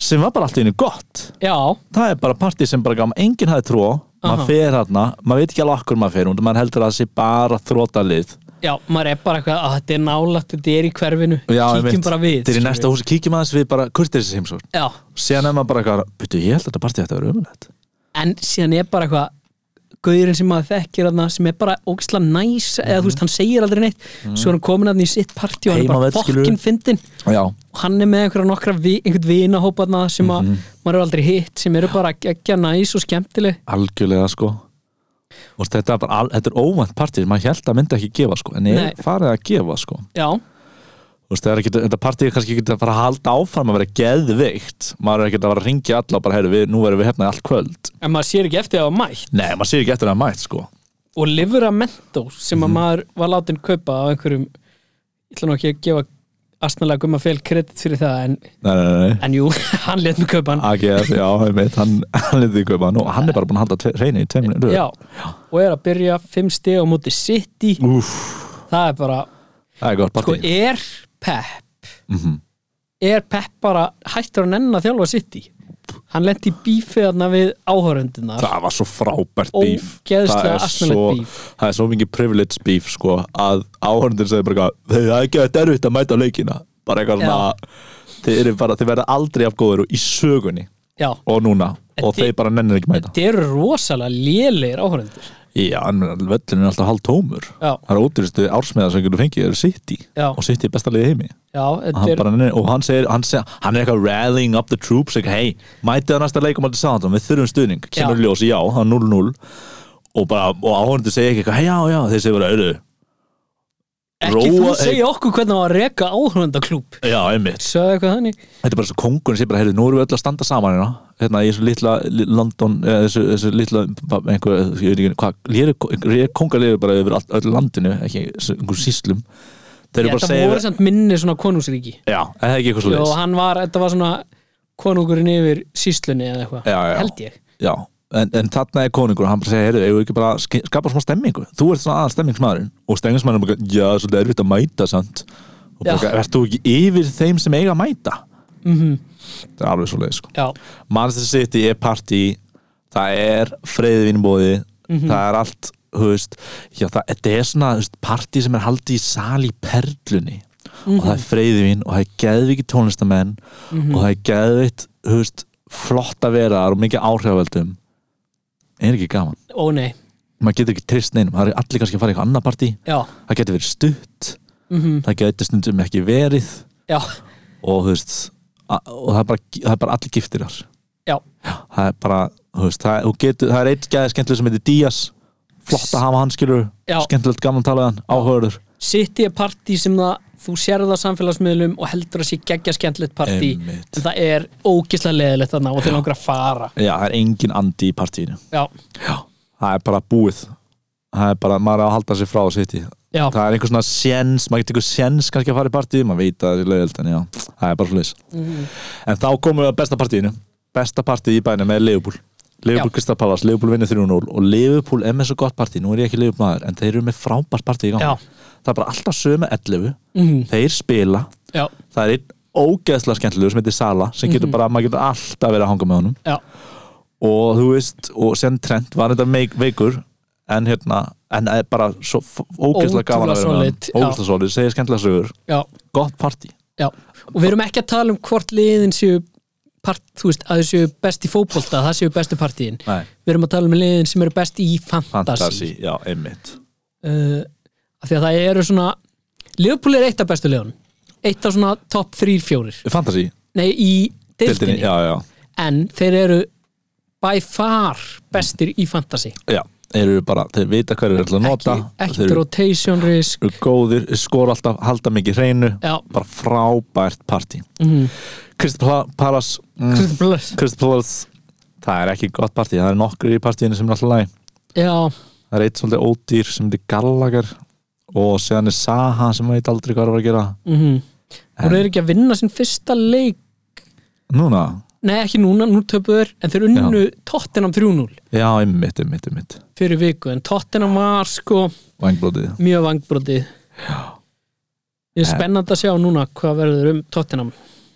Speaker 3: sem var bara alltaf einu gott
Speaker 2: já,
Speaker 3: það er bara partí sem bara gaman, enginn hafði tró
Speaker 2: Aha.
Speaker 3: maður fer hérna, maður veit ekki alveg okkur maður fer hún, maður heldur að það sé bara þrótalið
Speaker 2: já, maður er bara eitthvað að þetta er nálægt, þetta er í hverfinu Kíkjum bara við
Speaker 3: Þeir í
Speaker 2: skilur
Speaker 3: næsta
Speaker 2: við.
Speaker 3: húsi, kíkjum aðeins við bara kurteisi heimsókn
Speaker 2: Já,
Speaker 3: síðan er maður bara eitthvað, betur ég held að þetta partí ætti að vera umhverfett
Speaker 2: en síðan er bara eitthvað gauðurinn sem maður þekkir þarna sem er bara ógislega næs eða þú veist, hann segir aldrei neitt svo er hann komin þarna í sitt partí og hann er bara
Speaker 3: Heimavöll, skilur.
Speaker 2: fokkin fyndin
Speaker 3: já,
Speaker 2: og hann er með einhverja nokkra vi, einhvern vinahópa þarna sem að maður er aldrei hitt sem eru bara geggja næs og skemmtileg
Speaker 3: algjörlega sko og þetta er bara, al- þetta er óvænt partí sem maður held að myndi ekki gefa sko en
Speaker 2: Nei.
Speaker 3: ég farið að gefa sko
Speaker 2: Já,
Speaker 3: Þú veist, það er ekki, þetta partí er kannski ekki að fara að halda áfram að vera geðveikt maður er ekki að fara að ringja alla og bara, heyrðu, við, nú verðum við hefnaði allt kvöld
Speaker 2: en maður sér ekki eftir að hafa mætt
Speaker 3: nei, maður sér ekki eftir að hafa mætt sko
Speaker 2: og lifur að mentó sem að maður var látin kaupa af einhverjum ég ætla nú ekki að gefa astnalega gumma fel kredit fyrir það en,
Speaker 3: nei, nei, nei, nei.
Speaker 2: en jú, hann let mig kaupa hann
Speaker 3: AGF, já, einmitt, hann, hann er því kaupa nú, hann er bara búin að halda reyni í tveiminu
Speaker 2: Já, og er að byrja fimm stig á móti City
Speaker 3: Úf,
Speaker 2: það er bara,
Speaker 3: það er gott
Speaker 2: sko
Speaker 3: partí
Speaker 2: er Pep
Speaker 3: Mhm.
Speaker 2: er Pep bara hættur að nenn að þjálfa City hann lendi í bífið þarna við áhörundunar
Speaker 3: það var svo frábært bíf
Speaker 2: Ógeðslega
Speaker 3: það, er
Speaker 2: asnalegt
Speaker 3: svo-
Speaker 2: bíf.
Speaker 3: það er svo mikið privilege bíf sko, að áhörnundur segir bara eitthvað, "Þau, það er ekki að þetta erfitt að mæta á leikina bara eitthvað
Speaker 2: Já.
Speaker 3: svona þeir, eru bara, þeir verða aldrei af góður í sögunni
Speaker 2: Já,
Speaker 3: og núna og
Speaker 2: Þetta-
Speaker 3: þeir bara nennir ekki mæta
Speaker 2: þetta eru rosalega lélegir áhörundur
Speaker 3: já, en völlin er alltaf hálf tómur
Speaker 2: Já.
Speaker 3: það er ótrúlistu ársmiða sem getur fengið eru City
Speaker 2: Já.
Speaker 3: og City er besta liðið heimi
Speaker 2: Já,
Speaker 3: Og
Speaker 2: þetta
Speaker 3: hann
Speaker 2: er,
Speaker 3: bara, nennir- og hann segir, hann, segir, hann er eitthvað rallying up the troops eitthvað, hei, mætið að næsta leikum alltaf saman, við þurfum stuðning, kemur
Speaker 2: Já.
Speaker 3: ljós já, það er 0-0 og bara, og áhörnandi segir ekki eitthvað, hei, já, já, þeir segir bara, auðu
Speaker 2: ekki þú segja okkur hvernig á að reka áhörundaklúb
Speaker 3: já, einmitt,
Speaker 2: Söðu eitthvað þannig
Speaker 3: þetta er bara svo kongurinn segir bara, heyrðu, nú erum við öll að standa saman hérna, hérna í þessu litla li- London, eða þessu, þessu litla einhver, ég veit ekki, hvað, hér er kongarlegur bara yfir all, öll landinu ekki, einhver síslum þeir eru bara
Speaker 2: Þetta
Speaker 3: að segja,
Speaker 2: voru samt minni svona konungsríki
Speaker 3: já, er það er ekki eitthvað svo
Speaker 2: og hann var, þetta var svona konungurinn yfir síslunni eða eitthvað
Speaker 3: Já, já.
Speaker 2: held ég
Speaker 3: Já, en, en þarna er konungur og hann bara segir, heyrðu, eigum við ekki bara að ske- skapa smá stemmingu þú ert svona aðan stemmingsmaðurinn og stemmingsmaðurinn bara, já, það er svolítið erfitt að mæta samt og
Speaker 2: Já.
Speaker 3: bara, ert þú ekki yfir þeim sem eiga að mæta mm
Speaker 2: Mhm.
Speaker 3: -hmm. það er alveg svo leið, sko
Speaker 2: Já,
Speaker 3: Manchester City er partí það er freyðvinbóði mm það er allt, þú veist já, það, þetta er svona þú veist, partí sem er haldið í sal í perlunni og það er freyðvin og það er geðviki tónlistamenn og það er geðvikt, þú veist flott að vera og mikið áhrifavöldum er ekki gaman
Speaker 2: ó nei,
Speaker 3: maður getur ekki trist neinum, það er allir kannski að fara í eitthvað annað partí
Speaker 2: já,
Speaker 3: það getur verið stutt það getur stundum ekki verið
Speaker 2: já,
Speaker 3: og þú veist a- og það er bara, það er bara allir giftir þar
Speaker 2: já
Speaker 3: það er bara, þú veist, það, þú getur, það er eitt gæði skemmtileg sem heitir Díaz flott að hafa hann skilur,
Speaker 2: Já.
Speaker 3: skemmtilegt gaman talaðan, áhörður
Speaker 2: City er partí sem það þú sérðu það á samfélagsmiðlum og heldur að sé geggja skemmtilegt partí
Speaker 3: Einmitt.
Speaker 2: en það er ógislega leðilegt þarna og þau langar að fara
Speaker 3: já, það er engin andi í partíinu
Speaker 2: já,
Speaker 3: já, það er bara búið það er bara, maður er að halda sér frá að sitja
Speaker 2: já,
Speaker 3: það er einhver svona séns, maður getur einhver séns kannski að fara í partíð, maður veit að það er lögöld en já, það er bara slis
Speaker 2: Mhm.
Speaker 3: en þá komum við að besta partíðinu besta partíð í bænum er Leifupúl Leifupúl
Speaker 2: Já.
Speaker 3: Kristaf Pallas, Leifupúl vinnur 3-0 og Leifupúl er með svo gott partíð, nú er ég ekki Leifupúl maður en þeir eru með frábært partíð í gangi
Speaker 2: já,
Speaker 3: það er bara alltaf sömu 11
Speaker 2: Mhm.
Speaker 3: þeir spila,
Speaker 2: já,
Speaker 3: það er einn ógeðslega skemmtilegur sem heitir Sala sem
Speaker 2: Mhm.
Speaker 3: getur bara, maður getur alltaf verið að hanga með honum
Speaker 2: já,
Speaker 3: og þú veist, og sem trend var þetta meik, veikur en hérna, en það er bara svo ógeðslega gaman að vera með hann.
Speaker 2: Ótrúlega solid, já.
Speaker 3: ógeðslega solid, segir skemmtilega sögur,
Speaker 2: já,
Speaker 3: gott partí
Speaker 2: já og við erum ekki að tala um hvort liðin séu part, þú veist, að þau séu best í fótbolta það séu bestu partíin
Speaker 3: Nei,
Speaker 2: við erum að tala um liðin sem eru best í fantasy
Speaker 3: fantasy, já, einmitt
Speaker 2: uh, af því að það eru svona Liverpool er eitt af bestu liðunum eitt af svona top 3-4
Speaker 3: fantasy,
Speaker 2: nei, í
Speaker 3: dildinni,
Speaker 2: deildinni
Speaker 3: já, já,
Speaker 2: en þeir eru by far bestir í fantasy
Speaker 3: já þeir eru bara, þeir vita hverju þeir ætla að nota
Speaker 2: ekki, ekki
Speaker 3: þeir eru-
Speaker 2: rotation risk
Speaker 3: eru góðir, skora alltaf, halda mikið hreinu
Speaker 2: já,
Speaker 3: bara frábært partí
Speaker 2: Mhm.
Speaker 3: Kristið Palas mm, Kristið Palas það er ekki gott partí, það er nokkur í partíinu sem er alltaf læg
Speaker 2: já,
Speaker 3: það er eitt svolítið ódýr sem heitir Gallagher og séðan er Saha sem veit aldrei hvað er að gera
Speaker 2: mhm
Speaker 3: En-
Speaker 2: þú eru ekki að vinna sinn fyrsta leik
Speaker 3: núna,
Speaker 2: nei, ekki núna, nú töpuður en þeir unnu Tottenham 3-0
Speaker 3: já, einmitt, einmitt, einmitt
Speaker 2: fyrir viku, en Tottenham var sko
Speaker 3: vangblótið,
Speaker 2: mjög vangbrótið ég er
Speaker 3: En-
Speaker 2: spennand að sjá núna hvað verður um Tottenham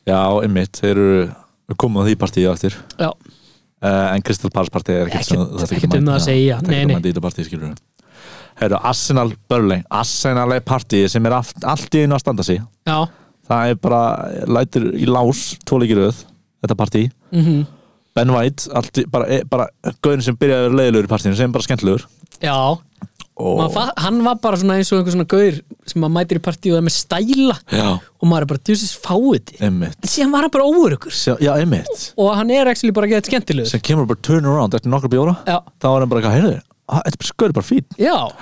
Speaker 3: já, einmitt, þeir eru við komum að því partíu aftur
Speaker 2: já,
Speaker 3: uh, en Crystal Palace partí er
Speaker 2: Ekkert-
Speaker 3: ekkert sem- það er
Speaker 2: ekkert um það að segja,
Speaker 3: það er
Speaker 2: nei,
Speaker 3: ekki
Speaker 2: nei.
Speaker 3: að mæta í þetta partí, skilur við Herru, Arsenal Börling, Arsenal er partí sem er aft, allt í einu að standa sig
Speaker 2: já,
Speaker 3: það er bara, lætur í lás tóleikiröð, þetta partí
Speaker 2: mhm
Speaker 3: Ben White, allt, í- bara, e, bara gauðin sem byrjaði að vera leiðilegur í partíinu, sem er bara skemmtilegur
Speaker 2: já,
Speaker 3: og,
Speaker 2: Maður fa- hann var bara svona eins og einhver svona gaur sem maður mætir í partíu og það er með stæla
Speaker 3: já,
Speaker 2: og maður er bara djúsins fáið en
Speaker 3: einmitt
Speaker 2: síðan var hann bara óurugur
Speaker 3: Sjá, já, einmitt
Speaker 2: og hann er ekki bara að geta skemmtilegur
Speaker 3: sem kemur bara turn around eftir nokkra bjóra
Speaker 2: já,
Speaker 3: þá er hann bara eitthvað, heyrðu, ah, þetta er skur bara fín
Speaker 2: já,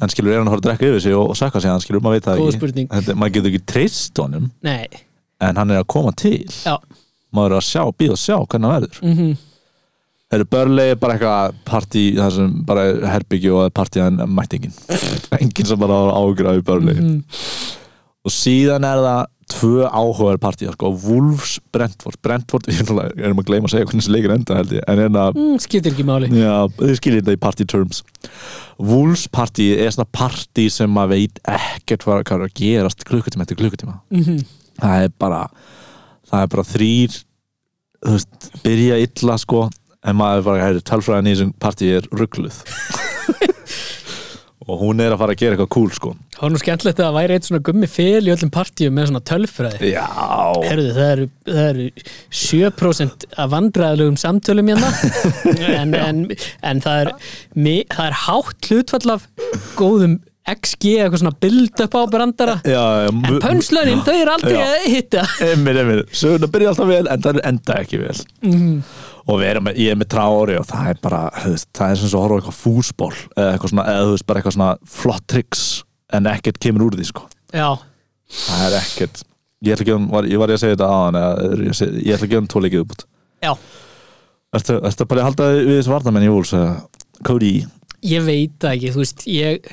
Speaker 3: en skilur, er hann að fara að drekka yfir sig og, og sakka sig hann skilur, maður veit það
Speaker 2: Góð
Speaker 3: ekki
Speaker 2: spurning.
Speaker 3: Þetta, maður getur ekki treyst honum
Speaker 2: nei
Speaker 3: en hann er að koma til
Speaker 2: já,
Speaker 3: maður er að sjá, býða að sjá hvernig hann verður mm -hmm. Eru börlegi bara eitthvað partí, það sem bara er herbyggju og partíðan mætti enginn enginn sem bara ágrafi börlegi mm og síðan er það tvö áhugaður partíðar, sko, Wolves Brentford, Brentford, við erum náttúrulega- erum að gleyma að segja hvernig þessi leikir enda held ég, en hérna
Speaker 2: mm, skiptir ekki máli
Speaker 3: Já, þið skilir þetta í party terms Wolves party er svona party sem maður veit ekkert hvað hvað er að gerast klukkutíma eftir klukkutíma
Speaker 2: Mhm.
Speaker 3: það er bara það er bara þrýr þú veist, byrja illa sko en maður er bara, hæri, tölfræðin í þessum party er ruggluð og hún er að fara að gera eitthvað cool sko
Speaker 2: það var nú skemmtilegt að það væri eitt svona gummi fel í öllum partíum með svona tölfræði
Speaker 3: Já,
Speaker 2: Herðu, það eru, það eru 7% af vandræðalegum samtölum hérna en, en, en það, er, mi, það er hátt hlutfall af góðum XG eitthvað svona build up á brandara
Speaker 3: já, já
Speaker 2: En pönslönin, þau eru aldrei
Speaker 3: Já.
Speaker 2: að hitta
Speaker 3: Emir, emir, sögurnar byrja alltaf vel en það enda ekki vel
Speaker 2: Mhm.
Speaker 3: og við erum, með- ég er með trári og það er bara þú veist, það er sem svo að horfa á eitthvað fúsból eða eitthvað svona, eða þú veist, bara eitthvað svona flott triks en ekkert kemur úr því sko
Speaker 2: Já,
Speaker 3: það er ekkert, ég ætla ekki um var, ég var ég að segja þetta á hann, ég, seg- ég ætla ekki um tóleikið upp
Speaker 2: já,
Speaker 3: Ertu, ertu bara að halda þig við þessu varnamenn í Wolves eða? Cody,
Speaker 2: ég veit það ekki Þú veist, ég,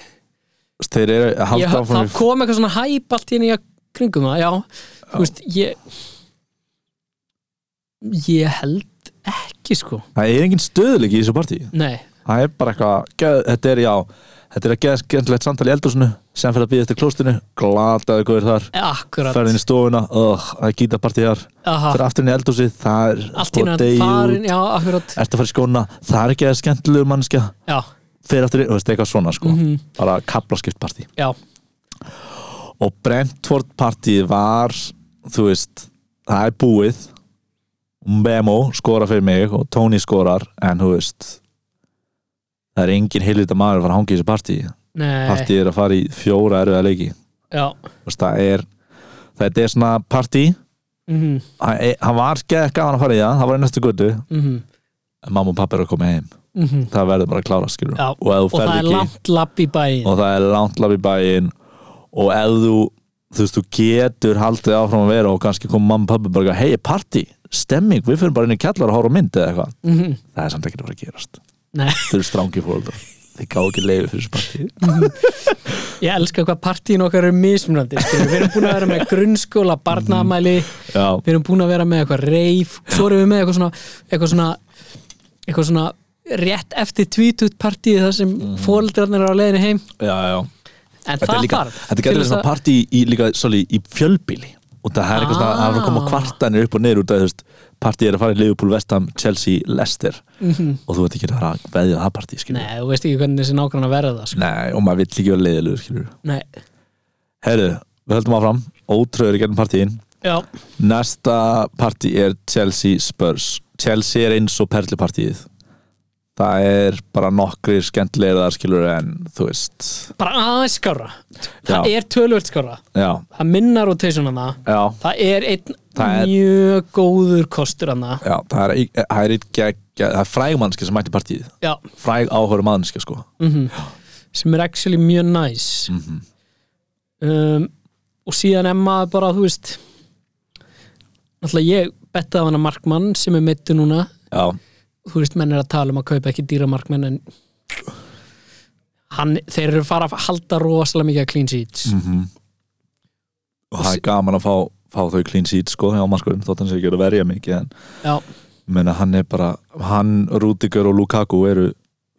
Speaker 3: þeir eru að
Speaker 2: ég
Speaker 3: halda
Speaker 2: þá
Speaker 3: áfram í-
Speaker 2: kom eitthvað svona hæp allt hérna í að kringum það, já, þú veist, ég ég held ekki sko,
Speaker 3: það er engin stöðleik í þessu partí
Speaker 2: nei
Speaker 3: það er bara eitthvað, geð- þetta er já þetta er að geða skemmtilegt samtali í eldúsinu sem fyrir að býða eftir klóstinu, glataðu guður þar
Speaker 2: Akkurat,
Speaker 3: ferðin í stofuna, ögh, það er gítapartí þar
Speaker 2: aha
Speaker 3: fyrir afturinn í eldhúsið, það er
Speaker 2: allt í
Speaker 3: deyju,
Speaker 2: hann farin, já, akkurat
Speaker 3: ertu að fara í skóna, það er ekki að skemmtilegu mannskja
Speaker 2: já,
Speaker 3: fyrir afturinn, þú veist, eitthvað svona sko
Speaker 2: Mhm.
Speaker 3: bara kaplaskiptpartí
Speaker 2: já,
Speaker 3: og Brentford partíð var þú veist, það er búið Memo skora fyrir mig og Tony skorar, en þú veist það er engin heilita maður að fara að hanga í þessu partíi
Speaker 2: nei
Speaker 3: partíið er að fara í fjóra erfiða leiki
Speaker 2: já,
Speaker 3: Þú veist, það er þetta er svona partíi
Speaker 2: mhm,
Speaker 3: hann eh, hann var skæð gaman að fara í það það var í næstu guttu,
Speaker 2: mhm,
Speaker 3: en mamma og pappa eru að koma heim
Speaker 2: mhm
Speaker 3: það verður bara að klára skilur
Speaker 2: já,
Speaker 3: og ef þú
Speaker 2: það
Speaker 3: ferð
Speaker 2: er
Speaker 3: ekki
Speaker 2: langt lapp í bæinn
Speaker 3: og það er langt lab í bæinn og ef þú þú veist, þú getur haldið áfram að vera og kannski kom mamma og pabbi bara hei, party, stemming, við fyrir bara inn í kjallar og horfa á mynd eða eitthvað -hmm.
Speaker 2: Mhm.
Speaker 3: það er samt ekki að vera að gerast
Speaker 2: Nei,
Speaker 3: þau eru strangi fóreldrar þau gá ekki leiði fyrir þessu
Speaker 2: Mhm.
Speaker 3: partí
Speaker 2: ég elska hvað partíin okkar er mismunandi skilur. við erum búin að vera með grunnskóla barnaamæli,
Speaker 3: Já.
Speaker 2: við erum búin að vera með eitthvað reif, svo erum við með eitthvað svona eitthvað svona, eitthvað svona rétt eftir tvítut partíi þar sem mm. fóldrarnir eru á leiðinu heim
Speaker 3: já, já
Speaker 2: en
Speaker 3: þetta
Speaker 2: það
Speaker 3: er líka,
Speaker 2: þarf
Speaker 3: þetta
Speaker 2: til
Speaker 3: getur
Speaker 2: þess
Speaker 3: svona
Speaker 2: að-
Speaker 3: partí í, líka svolítið í fjölbíli og það er eitthvað svona, það er að koma
Speaker 2: Ah.
Speaker 3: kvartanir upp og niður út af þú veist, partí er að fara í Liverpool, Vestham, Chelsea, Leicester og þú veit ekki að fara að veðja á það partí skilur.
Speaker 2: Mhm. Nei, þú veist ekki hvernig þessi nákvæmna verða það sko.
Speaker 3: Nei, og maður vill ekki vera leiðilegur skilur.
Speaker 2: Nei,
Speaker 3: Herru, við höldum áfram, ótröður í gerðum partíin
Speaker 2: já,
Speaker 3: Næsta partí er Chelsea Spurs Chelsea er eins og perlupartíið Það er bara nokkri skemmtilegir þar skilur en þú veist
Speaker 2: bara aðeins skára Það
Speaker 3: Já.
Speaker 2: er tölvöld skára
Speaker 3: Já,
Speaker 2: Það minna rotationana það
Speaker 3: já
Speaker 2: Það er einn
Speaker 3: Það er-
Speaker 2: mjög góður kostur hana
Speaker 3: Já, það er, það er, ekki, það er fræg mannski sem mætti partíð
Speaker 2: Já,
Speaker 3: fræg áhverju mannski sko
Speaker 2: sem er actually mjög næs
Speaker 3: Mhm.
Speaker 2: um, Og síðan emma er bara, þú veist Náttúrulega ég bettaði á hana markmann sem er meittu núna
Speaker 3: Já,
Speaker 2: Þú veist, menn er að tala um að kaupa ekki dýra markmann en hann, þeir eru fara að halda rosalega mikið að clean sheets
Speaker 3: Mm. og það er gaman að fá, fá þau clean sheet sko hjá mannskurum þótt hann sé ekki að verja mikið en
Speaker 2: Já,
Speaker 3: menna, hann er bara, hann, Rudiger og Lukaku eru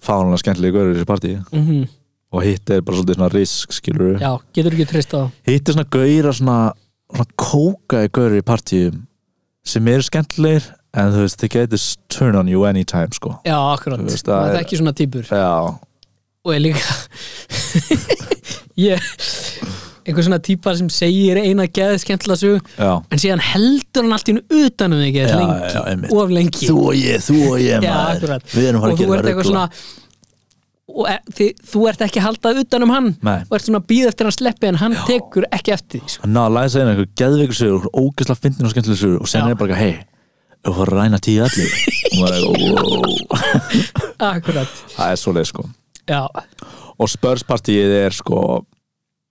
Speaker 3: fánulega skemmtilega görur í þessu partíi
Speaker 2: mm
Speaker 3: og hitt er bara svolítið svona risk skilur
Speaker 2: já getur ekki treyst á það
Speaker 3: hitt er svona gauðir svona, svona kókaði gauðir í partíum sem eru skemmtilegir en þú veist, they get this turn on you anytime sko
Speaker 2: Já, akkurat,
Speaker 3: Þú veist, það
Speaker 2: það er
Speaker 3: er-
Speaker 2: ekki svona típur
Speaker 3: Já,
Speaker 2: og er líka ég einhver svona típa sem segir eina geði skemmtilega sög
Speaker 3: já
Speaker 2: en síðan heldur hann allt í hennu utan um þig
Speaker 3: Já,
Speaker 2: eða lengi,
Speaker 3: já, einmitt.
Speaker 2: of lengi
Speaker 3: Þú og ég, þú og ég
Speaker 2: já,
Speaker 3: maður
Speaker 2: akkurat
Speaker 3: Við erum að
Speaker 2: og þú
Speaker 3: gera
Speaker 2: ert
Speaker 3: ruggla.
Speaker 2: eitthvað svona og er, þi, þú ert ekki að halda utan um hann
Speaker 3: Nei.
Speaker 2: og ert svona að býða eftir hann sleppi en hann tekur ekki eftir því sko.
Speaker 3: hann náði að læsa einu einhver geðveikur sögur og ógæsla fyndin og skemmtileg sögur og sen
Speaker 2: Já.
Speaker 3: er bara hei, þú voru að ræna tíu allir og maður er eitthvað, wow
Speaker 2: akkurat,
Speaker 3: það er svoleið sko
Speaker 2: já
Speaker 3: og spörspartíið er sko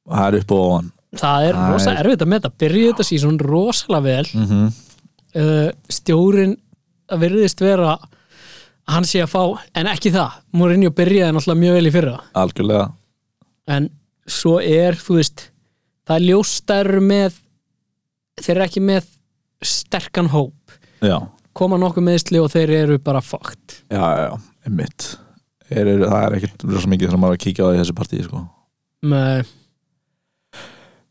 Speaker 3: það er upp og ofan
Speaker 2: það er
Speaker 3: Það
Speaker 2: rosa
Speaker 3: er-
Speaker 2: erfitt að meta byrjuð þetta síðan rosalega vel
Speaker 3: mm -hmm.
Speaker 2: uh, stjórin virðist vera að hann sé að fá, en ekki það Mourinho byrjaði náttúrulega mjög vel í fyrra
Speaker 3: algjörlega
Speaker 2: en svo er, þú veist það er ljóstar með þeir eru ekki með sterkan hóp,
Speaker 3: já,
Speaker 2: koma nokkuð meðsli og þeir eru bara fakt
Speaker 3: já, já, já, einmitt er, er, það er ekkert rosa mikið þegar maður er að kíkja á það í þessu partíi sko
Speaker 2: með,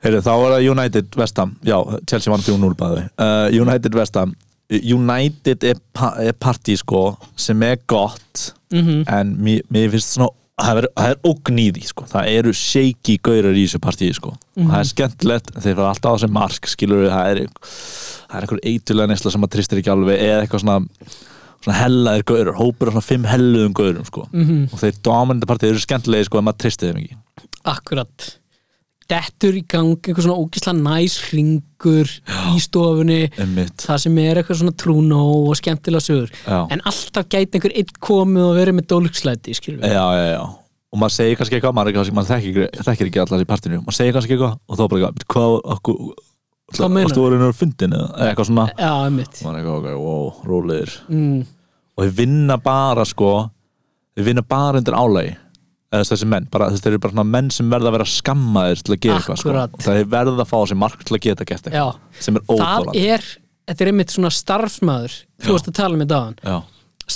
Speaker 3: Heyri, þá var það United Vestam já, Chelsea vann 3-0 bæði uh, United Vestam United er, pa er partí sko sem er gott
Speaker 2: mm
Speaker 3: en mér, mér finnst svona það er, það er ógn í því sko það eru shaky gaurar í þessu partíi sko það er skemmtilegt, en þeir fara alltaf á þessi mark skilur við, það er það er einhver eitulega nesla sem að tristir ekki alveg eða eitthvað svona, svona hellaðir gaurar hópur af svona fimm helluðum gaurum sko
Speaker 2: Mhm.
Speaker 3: og þeir dominandi partíi eru skemmtilegi sko en maður tristir þeim ekki
Speaker 2: akkurat dettur í gang einhver svona ógisla næs hringur í stofunni
Speaker 3: Einmitt.
Speaker 2: það sem er eitthvað svona trúnó og skemmtilega sögur
Speaker 3: Já.
Speaker 2: en alltaf gæti einhver einn komið og verið með dólkslæti skilur við
Speaker 3: já, já, já og maður segir kannski eitthvað, maður, er kannski, maður þekkir, ekki- þekkir ekki allar í partinu, maður segir kannski eitthvað og þá bara eitthvað, "Bíddu, hvað, okkur
Speaker 2: Hvað meinar?"
Speaker 3: varstu orðinur fundin eða eða eitthvað svona
Speaker 2: já, einmitt
Speaker 3: og maður er eitthvað, ok, wow, rólegir
Speaker 2: mm,
Speaker 3: og þeir vinna bara sko þeir vinna bara undir álagi eða þessi menn, bara, þessi, þeir eru bara svona menn sem verða að vera skammaðir til að gera eitthvað sko.
Speaker 2: Akkurat.
Speaker 3: og þeir verða að fá þessi mark til að geta gert
Speaker 2: já,
Speaker 3: eitthvað sem er
Speaker 2: það
Speaker 3: óþólandi
Speaker 2: er þetta er einmitt svona starfsmæður þú varst að tala um þetta aðan
Speaker 3: já,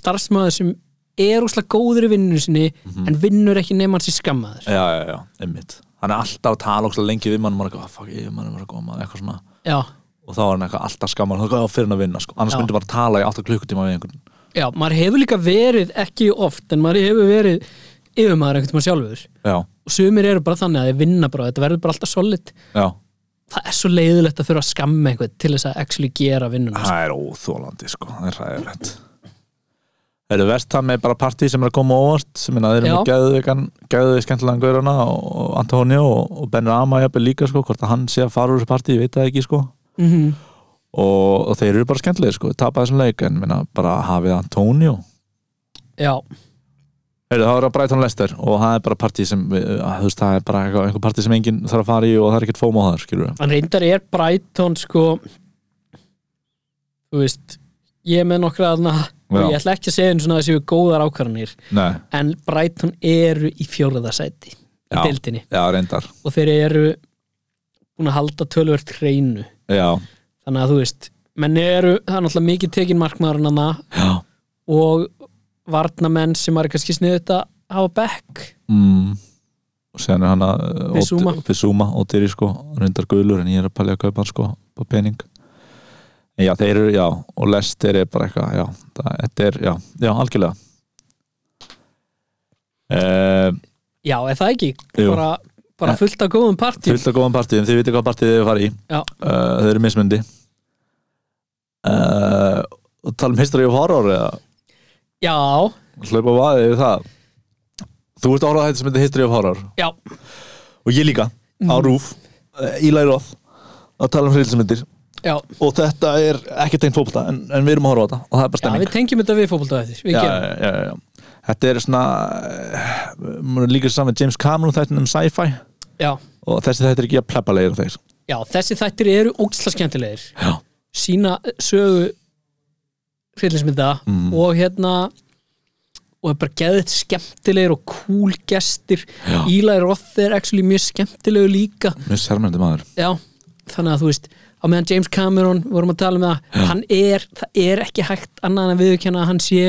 Speaker 2: starfsmæður sem er úslega góður í vinnunni sinni en vinnur ekki nema hans í skammaður
Speaker 3: já, já, já, einmitt hann er alltaf að tala ókslega lengi við mann og maður er eitthvað, "Ah, fuck, ég mann er maður að koma eitthvað svona
Speaker 2: já,
Speaker 3: og þá er hann eitthvað alltaf skamman þá er fyrir hann að vinna sko. annars
Speaker 2: Já.
Speaker 3: myndi bara tala í 8 klukkutíma við einhvern
Speaker 2: já, maður hefur líka verið ekki oft en maður hefur verið yfirmaður einhvern tímann sjálfur
Speaker 3: já,
Speaker 2: og sumir eru bara þannig að þeir vinna bara þetta verður bara alltaf solid
Speaker 3: já,
Speaker 2: það er svo leiðilegt að þurfa að skamma einhvern til þess að actually gera vinnunum
Speaker 3: það er óþólandi sko. það er ræðilegt Það eru vest það með bara partí sem er að koma á óvart sem er að þeir eru með
Speaker 2: Já.
Speaker 3: geðveikan geðveik skemmtilegan gaurana og Antonio og, og Ben Rama jafnvel líka sko, hvort að hann sé að fara úr þessu partí, ég veit það ekki sko
Speaker 2: mm -hmm.
Speaker 3: og, og þeir eru bara skemmtilegir sko, tapa þessum leik en minna, bara hafið Antonio
Speaker 2: já,
Speaker 3: Heyrðu, það er að Brighton Leicester og það er bara partí sem, við- að, þú veist, það er bara eitthvað- einhver partí sem enginn þarf að fara í og það er ekkert fóma á það, skilur við.
Speaker 2: Hann reyndar er Brighton sko þú veist ég er með nokkra aðna og
Speaker 3: Já.
Speaker 2: ég ætla ekki að segja einu svona að það séu góðar ákvarðanir
Speaker 3: Nei,
Speaker 2: en Brighton eru í fjórðasæti í
Speaker 3: Já.
Speaker 2: deildinni
Speaker 3: já, reyndar.
Speaker 2: og þeir eru búin að halda tölvert hreinu
Speaker 3: Já,
Speaker 2: þannig að þú veist menn eru, það er náttúrulega mikið tekin markmaðurinn hana
Speaker 3: já.
Speaker 2: og varnamenn sem var kannski sniðu þetta hafa bekk
Speaker 3: Mm. Og sen er hann að
Speaker 2: Bissouma.
Speaker 3: Fissúma og Dyrir sko, reyndar guðlur en ég er að palja að kaupa hann sko, på pening. En já, þeir eru, já, og Leicester er bara eitthvað, já, það, þetta er, já, já, algjörlega. Uh,
Speaker 2: já, er það ekki?
Speaker 3: Jú.
Speaker 2: Bara, bara fullt af góðum partjum
Speaker 3: fullt af góðan partíum, þið viti hvað partíð þið eru farið í.
Speaker 2: já,
Speaker 3: uh, þau eru mismundi uh, og tala um history of horror eða
Speaker 2: já,
Speaker 3: hlaupa á vaðið yfir það þú ert að horfa á þetta sem heitir history of horror
Speaker 2: já
Speaker 3: og ég líka á
Speaker 2: Mhm.
Speaker 3: rúf uh, í læróð að tala um hreilsmyndir
Speaker 2: já,
Speaker 3: og þetta er ekki tengt fótbolta en, en við erum að horfa á þetta og það er bara
Speaker 2: já
Speaker 3: stemming
Speaker 2: við tengjum þetta við fótbolta eftir við
Speaker 3: já,
Speaker 2: gerum
Speaker 3: já, já, já. þetta er svona uh, líka saman James Cameron þættin um sci-fi
Speaker 2: já,
Speaker 3: og þessi þetta er ekki að pleppa leiðir um þeir
Speaker 2: já, þessi þættir eru ógislega skemmtilegir
Speaker 3: já,
Speaker 2: sína sögu hryllinsmynda og hérna og er bara geðið skemmtilegir og cool gestir
Speaker 3: Já.
Speaker 2: Eli Roth er actually mjög skemmtilegur líka
Speaker 3: mjög sérmyndi maður
Speaker 2: já, þannig að þú veist á meðan James Cameron, við vorum að tala um það hann er, það er ekki hægt annað en viðurkenna að hann sé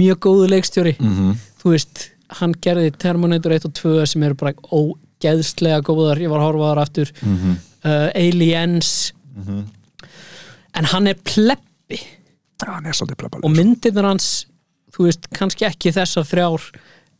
Speaker 2: mjög góðu leikstjóri -hmm. þú veist, hann gerði Terminator 1 og 2 sem eru bara ógeðslega góðar, ég var að horfa á þar aftur -hmm. uh, Aliens en hann er pleppi
Speaker 3: hann er svolítið pleppa
Speaker 2: og myndirnar hans þú veist, kannski ekki þessar þrjár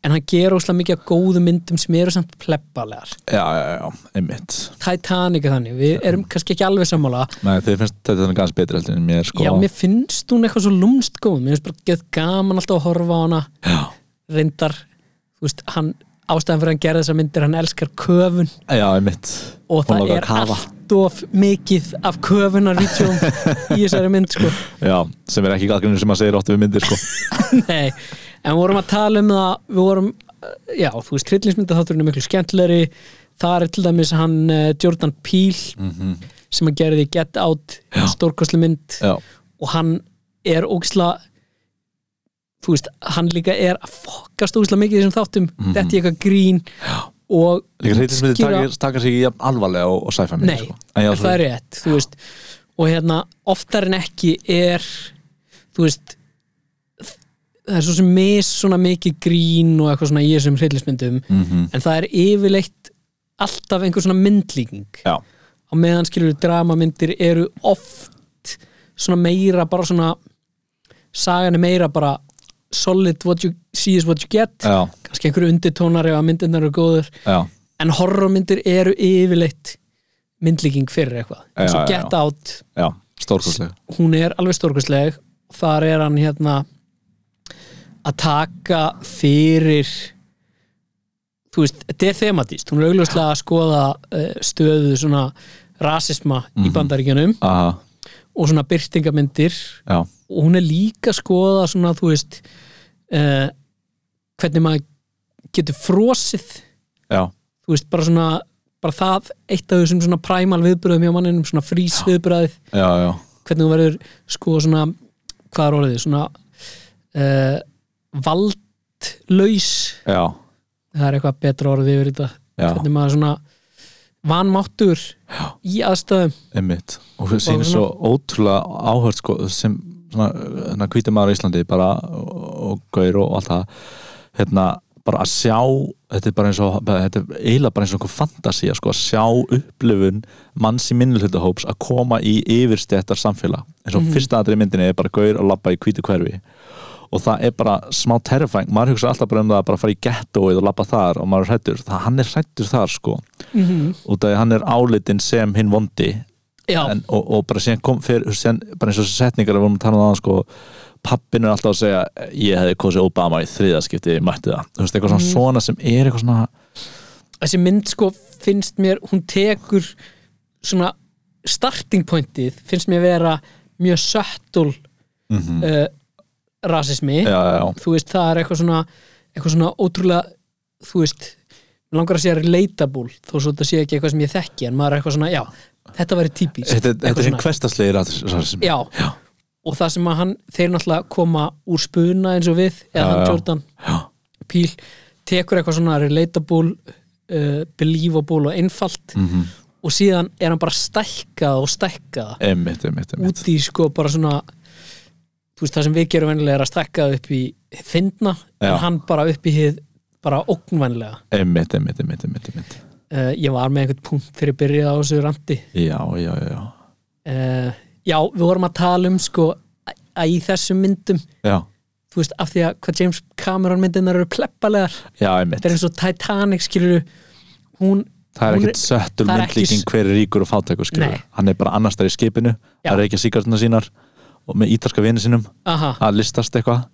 Speaker 2: en hann ger óslega mikið af góðu myndum sem eru samt pleppalegar
Speaker 3: já, já, já, einmitt
Speaker 2: Titanic er þannig, við erum kannski ekki alveg sammála
Speaker 3: Nei, þið finnst þetta þannig gans betur heldur en mér sko
Speaker 2: Já, mér finnst hún eitthvað svo lúmst góð Mér finnst bara gett gaman alltaf að horfa á hana
Speaker 3: já,
Speaker 2: Reyndar, þú veist, hann Ástæðan fyrir að hann gerði þessa myndir, hann elskar köfun
Speaker 3: já, einmitt
Speaker 2: Og
Speaker 3: Hún
Speaker 2: það
Speaker 3: langar að
Speaker 2: er
Speaker 3: kafa.
Speaker 2: allt of mikið Af köfunarvítjum í þessari mynd sko.
Speaker 3: Já, sem er ekki galgrinu sem að segja óttu við myndir sko
Speaker 2: Nei, en við vorum að tala um það Við vorum, eh, já, þú veist Hryllingsmynda þátturinn er miklu skemmtilegri Það er til dæmis hann eh, Jordan Peele Sem að gerði Get Out, stórkostli mynd
Speaker 3: Mhm. Já,
Speaker 2: og hann er ógisla þú veist, hann líka er að fokast ógisla mikið í þessum þáttum þetta er eitthvað grín og
Speaker 3: líka reytismyndir
Speaker 2: útskýra-
Speaker 3: taka, taka sig ekki jafn alvarlega og, og sci-fi myndir
Speaker 2: nei,
Speaker 3: sko. En já,
Speaker 2: en það er rétt þú veist, og hérna oftar en ekki er þú veist það er svo sem mis svona mikið grín og eitthvað svona í þessum hryllismyndum
Speaker 3: Mhm.
Speaker 2: en það er yfirleitt alltaf einhver svona myndlíking
Speaker 3: Já,
Speaker 2: á meðan skilur dramamyndir eru oft svona meira bara svona sagan er meira bara solid what you see is what you get
Speaker 3: já,
Speaker 2: kannski einhverju undirtónar ef að myndirnar eru góður
Speaker 3: já,
Speaker 2: en horrormyndir eru yfirleitt myndlíking fyrir eitthvað eins og
Speaker 3: Já, já,
Speaker 2: Get
Speaker 3: já.
Speaker 2: Out
Speaker 3: já Stórkostlega
Speaker 2: hún er alveg stórkustleg þar er hann hérna að taka fyrir þú veist, þetta er thematíst hún er augljóslega að skoða eh, stöðu svona rasisma í bandaríkjunum
Speaker 3: Aha,
Speaker 2: og svona byrtingamyndir
Speaker 3: já,
Speaker 2: og hún er líka að skoða svona þú veist eh, hvernig maður getur frosið
Speaker 3: já,
Speaker 2: þú veist, bara svona bara það, eitt af þessum svona primal viðbröðum hjá manninum, svona frís viðbröðið
Speaker 3: já, já
Speaker 2: hvernig þú verður sko svona hvað er orðið, svona uh, valdlaus
Speaker 3: Já,
Speaker 2: það er eitthvað betra orðið yfir þetta
Speaker 3: Já.
Speaker 2: hvernig maður svona vanmáttur Já. í aðstöðum
Speaker 3: einmitt Og það sýnir svo ótrúlega áhört sko sem svona, svona hvíti maður á Íslandi bara og, og gaur og allt það hérna bara að sjá þetta er bara eins og þetta er eiginlega bara eins og einhver fantasía sko að sjá upplifun manns í minnulhutahóps að koma í yfirstættar samfélag eins og fyrsta aðri myndinni er bara gaur að labba í hvítu hverfi og það er bara smá terrifying maður hugsa alltaf bara um það að bara fara í ghettoið og labba þar og maður er hrættur, það, hann er hrættur þar sko, mm -hmm. út af því hann er álitinn sem hinn vondi
Speaker 2: Já,
Speaker 3: en, og, og bara síðan kom fyrir, síðan, bara eins og þessar setningar að vorum að tala um það sko, pappin er alltaf að segja ég hefði kosið Obama í þriðaskipti ég mætti það, þú veist, eitthvað
Speaker 2: Mm.
Speaker 3: svona, svona sem er eitthvað svona,
Speaker 2: þessi mynd sko finnst mér, hún tekur svona starting pointið finnst mér vera mjög söttul mm rasismi
Speaker 3: Mhm. já, já, já
Speaker 2: þú veist það er eitthvað svona eitthvað svona ótrúlega þú veist, mig langar að sé relatable þó svo þetta sé ekki eitthvað sem ég þekki en maður er eitthvað svona, já, þetta væri típist
Speaker 3: Þetta, þetta
Speaker 2: Eitthvað
Speaker 3: er hinn
Speaker 2: svona.
Speaker 3: hverstaslegir rasismi
Speaker 2: já. og það sem að hann, þeir náttúrulega koma úr spuna eins og við eða
Speaker 3: Já,
Speaker 2: hann
Speaker 3: já.
Speaker 2: Jordan
Speaker 3: Já.
Speaker 2: Píl tekur eitthvað svona relatable uh, believable og einfalt
Speaker 3: Mhm.
Speaker 2: og síðan er hann bara stækkað og stækkað
Speaker 3: Einmitt, einmitt, einmitt
Speaker 2: út í sko bara svona þú veist það sem við gerum vennilega er að stækka upp í fyndna
Speaker 3: Já.
Speaker 2: en hann bara upp í hið bara ógnvænlega
Speaker 3: Einmitt, einmitt, einmitt, einmitt, einmitt.
Speaker 2: uh, ég var með einhvern punkt fyrir að byrja á þessu randi
Speaker 3: Já, já, já
Speaker 2: uh, já við vorum að tala um sko að- að í þessum myndum
Speaker 3: Já,
Speaker 2: þú veist af því að hvað James Cameron myndinar eru pleppalegar
Speaker 3: já einmitt
Speaker 2: þetta er eins og Titanic skilur hún
Speaker 3: Það er
Speaker 2: hún
Speaker 3: ekkert söttur
Speaker 2: það er ekki
Speaker 3: myndlíking
Speaker 2: s-
Speaker 3: hver er ríkur og fátækur skilur
Speaker 2: Nei.
Speaker 3: Hann er bara annars þar í skipinu
Speaker 2: Já.
Speaker 3: Það er ekki síkartuna sínar og með ítarska vini sinum
Speaker 2: aha,
Speaker 3: að listast eitthvað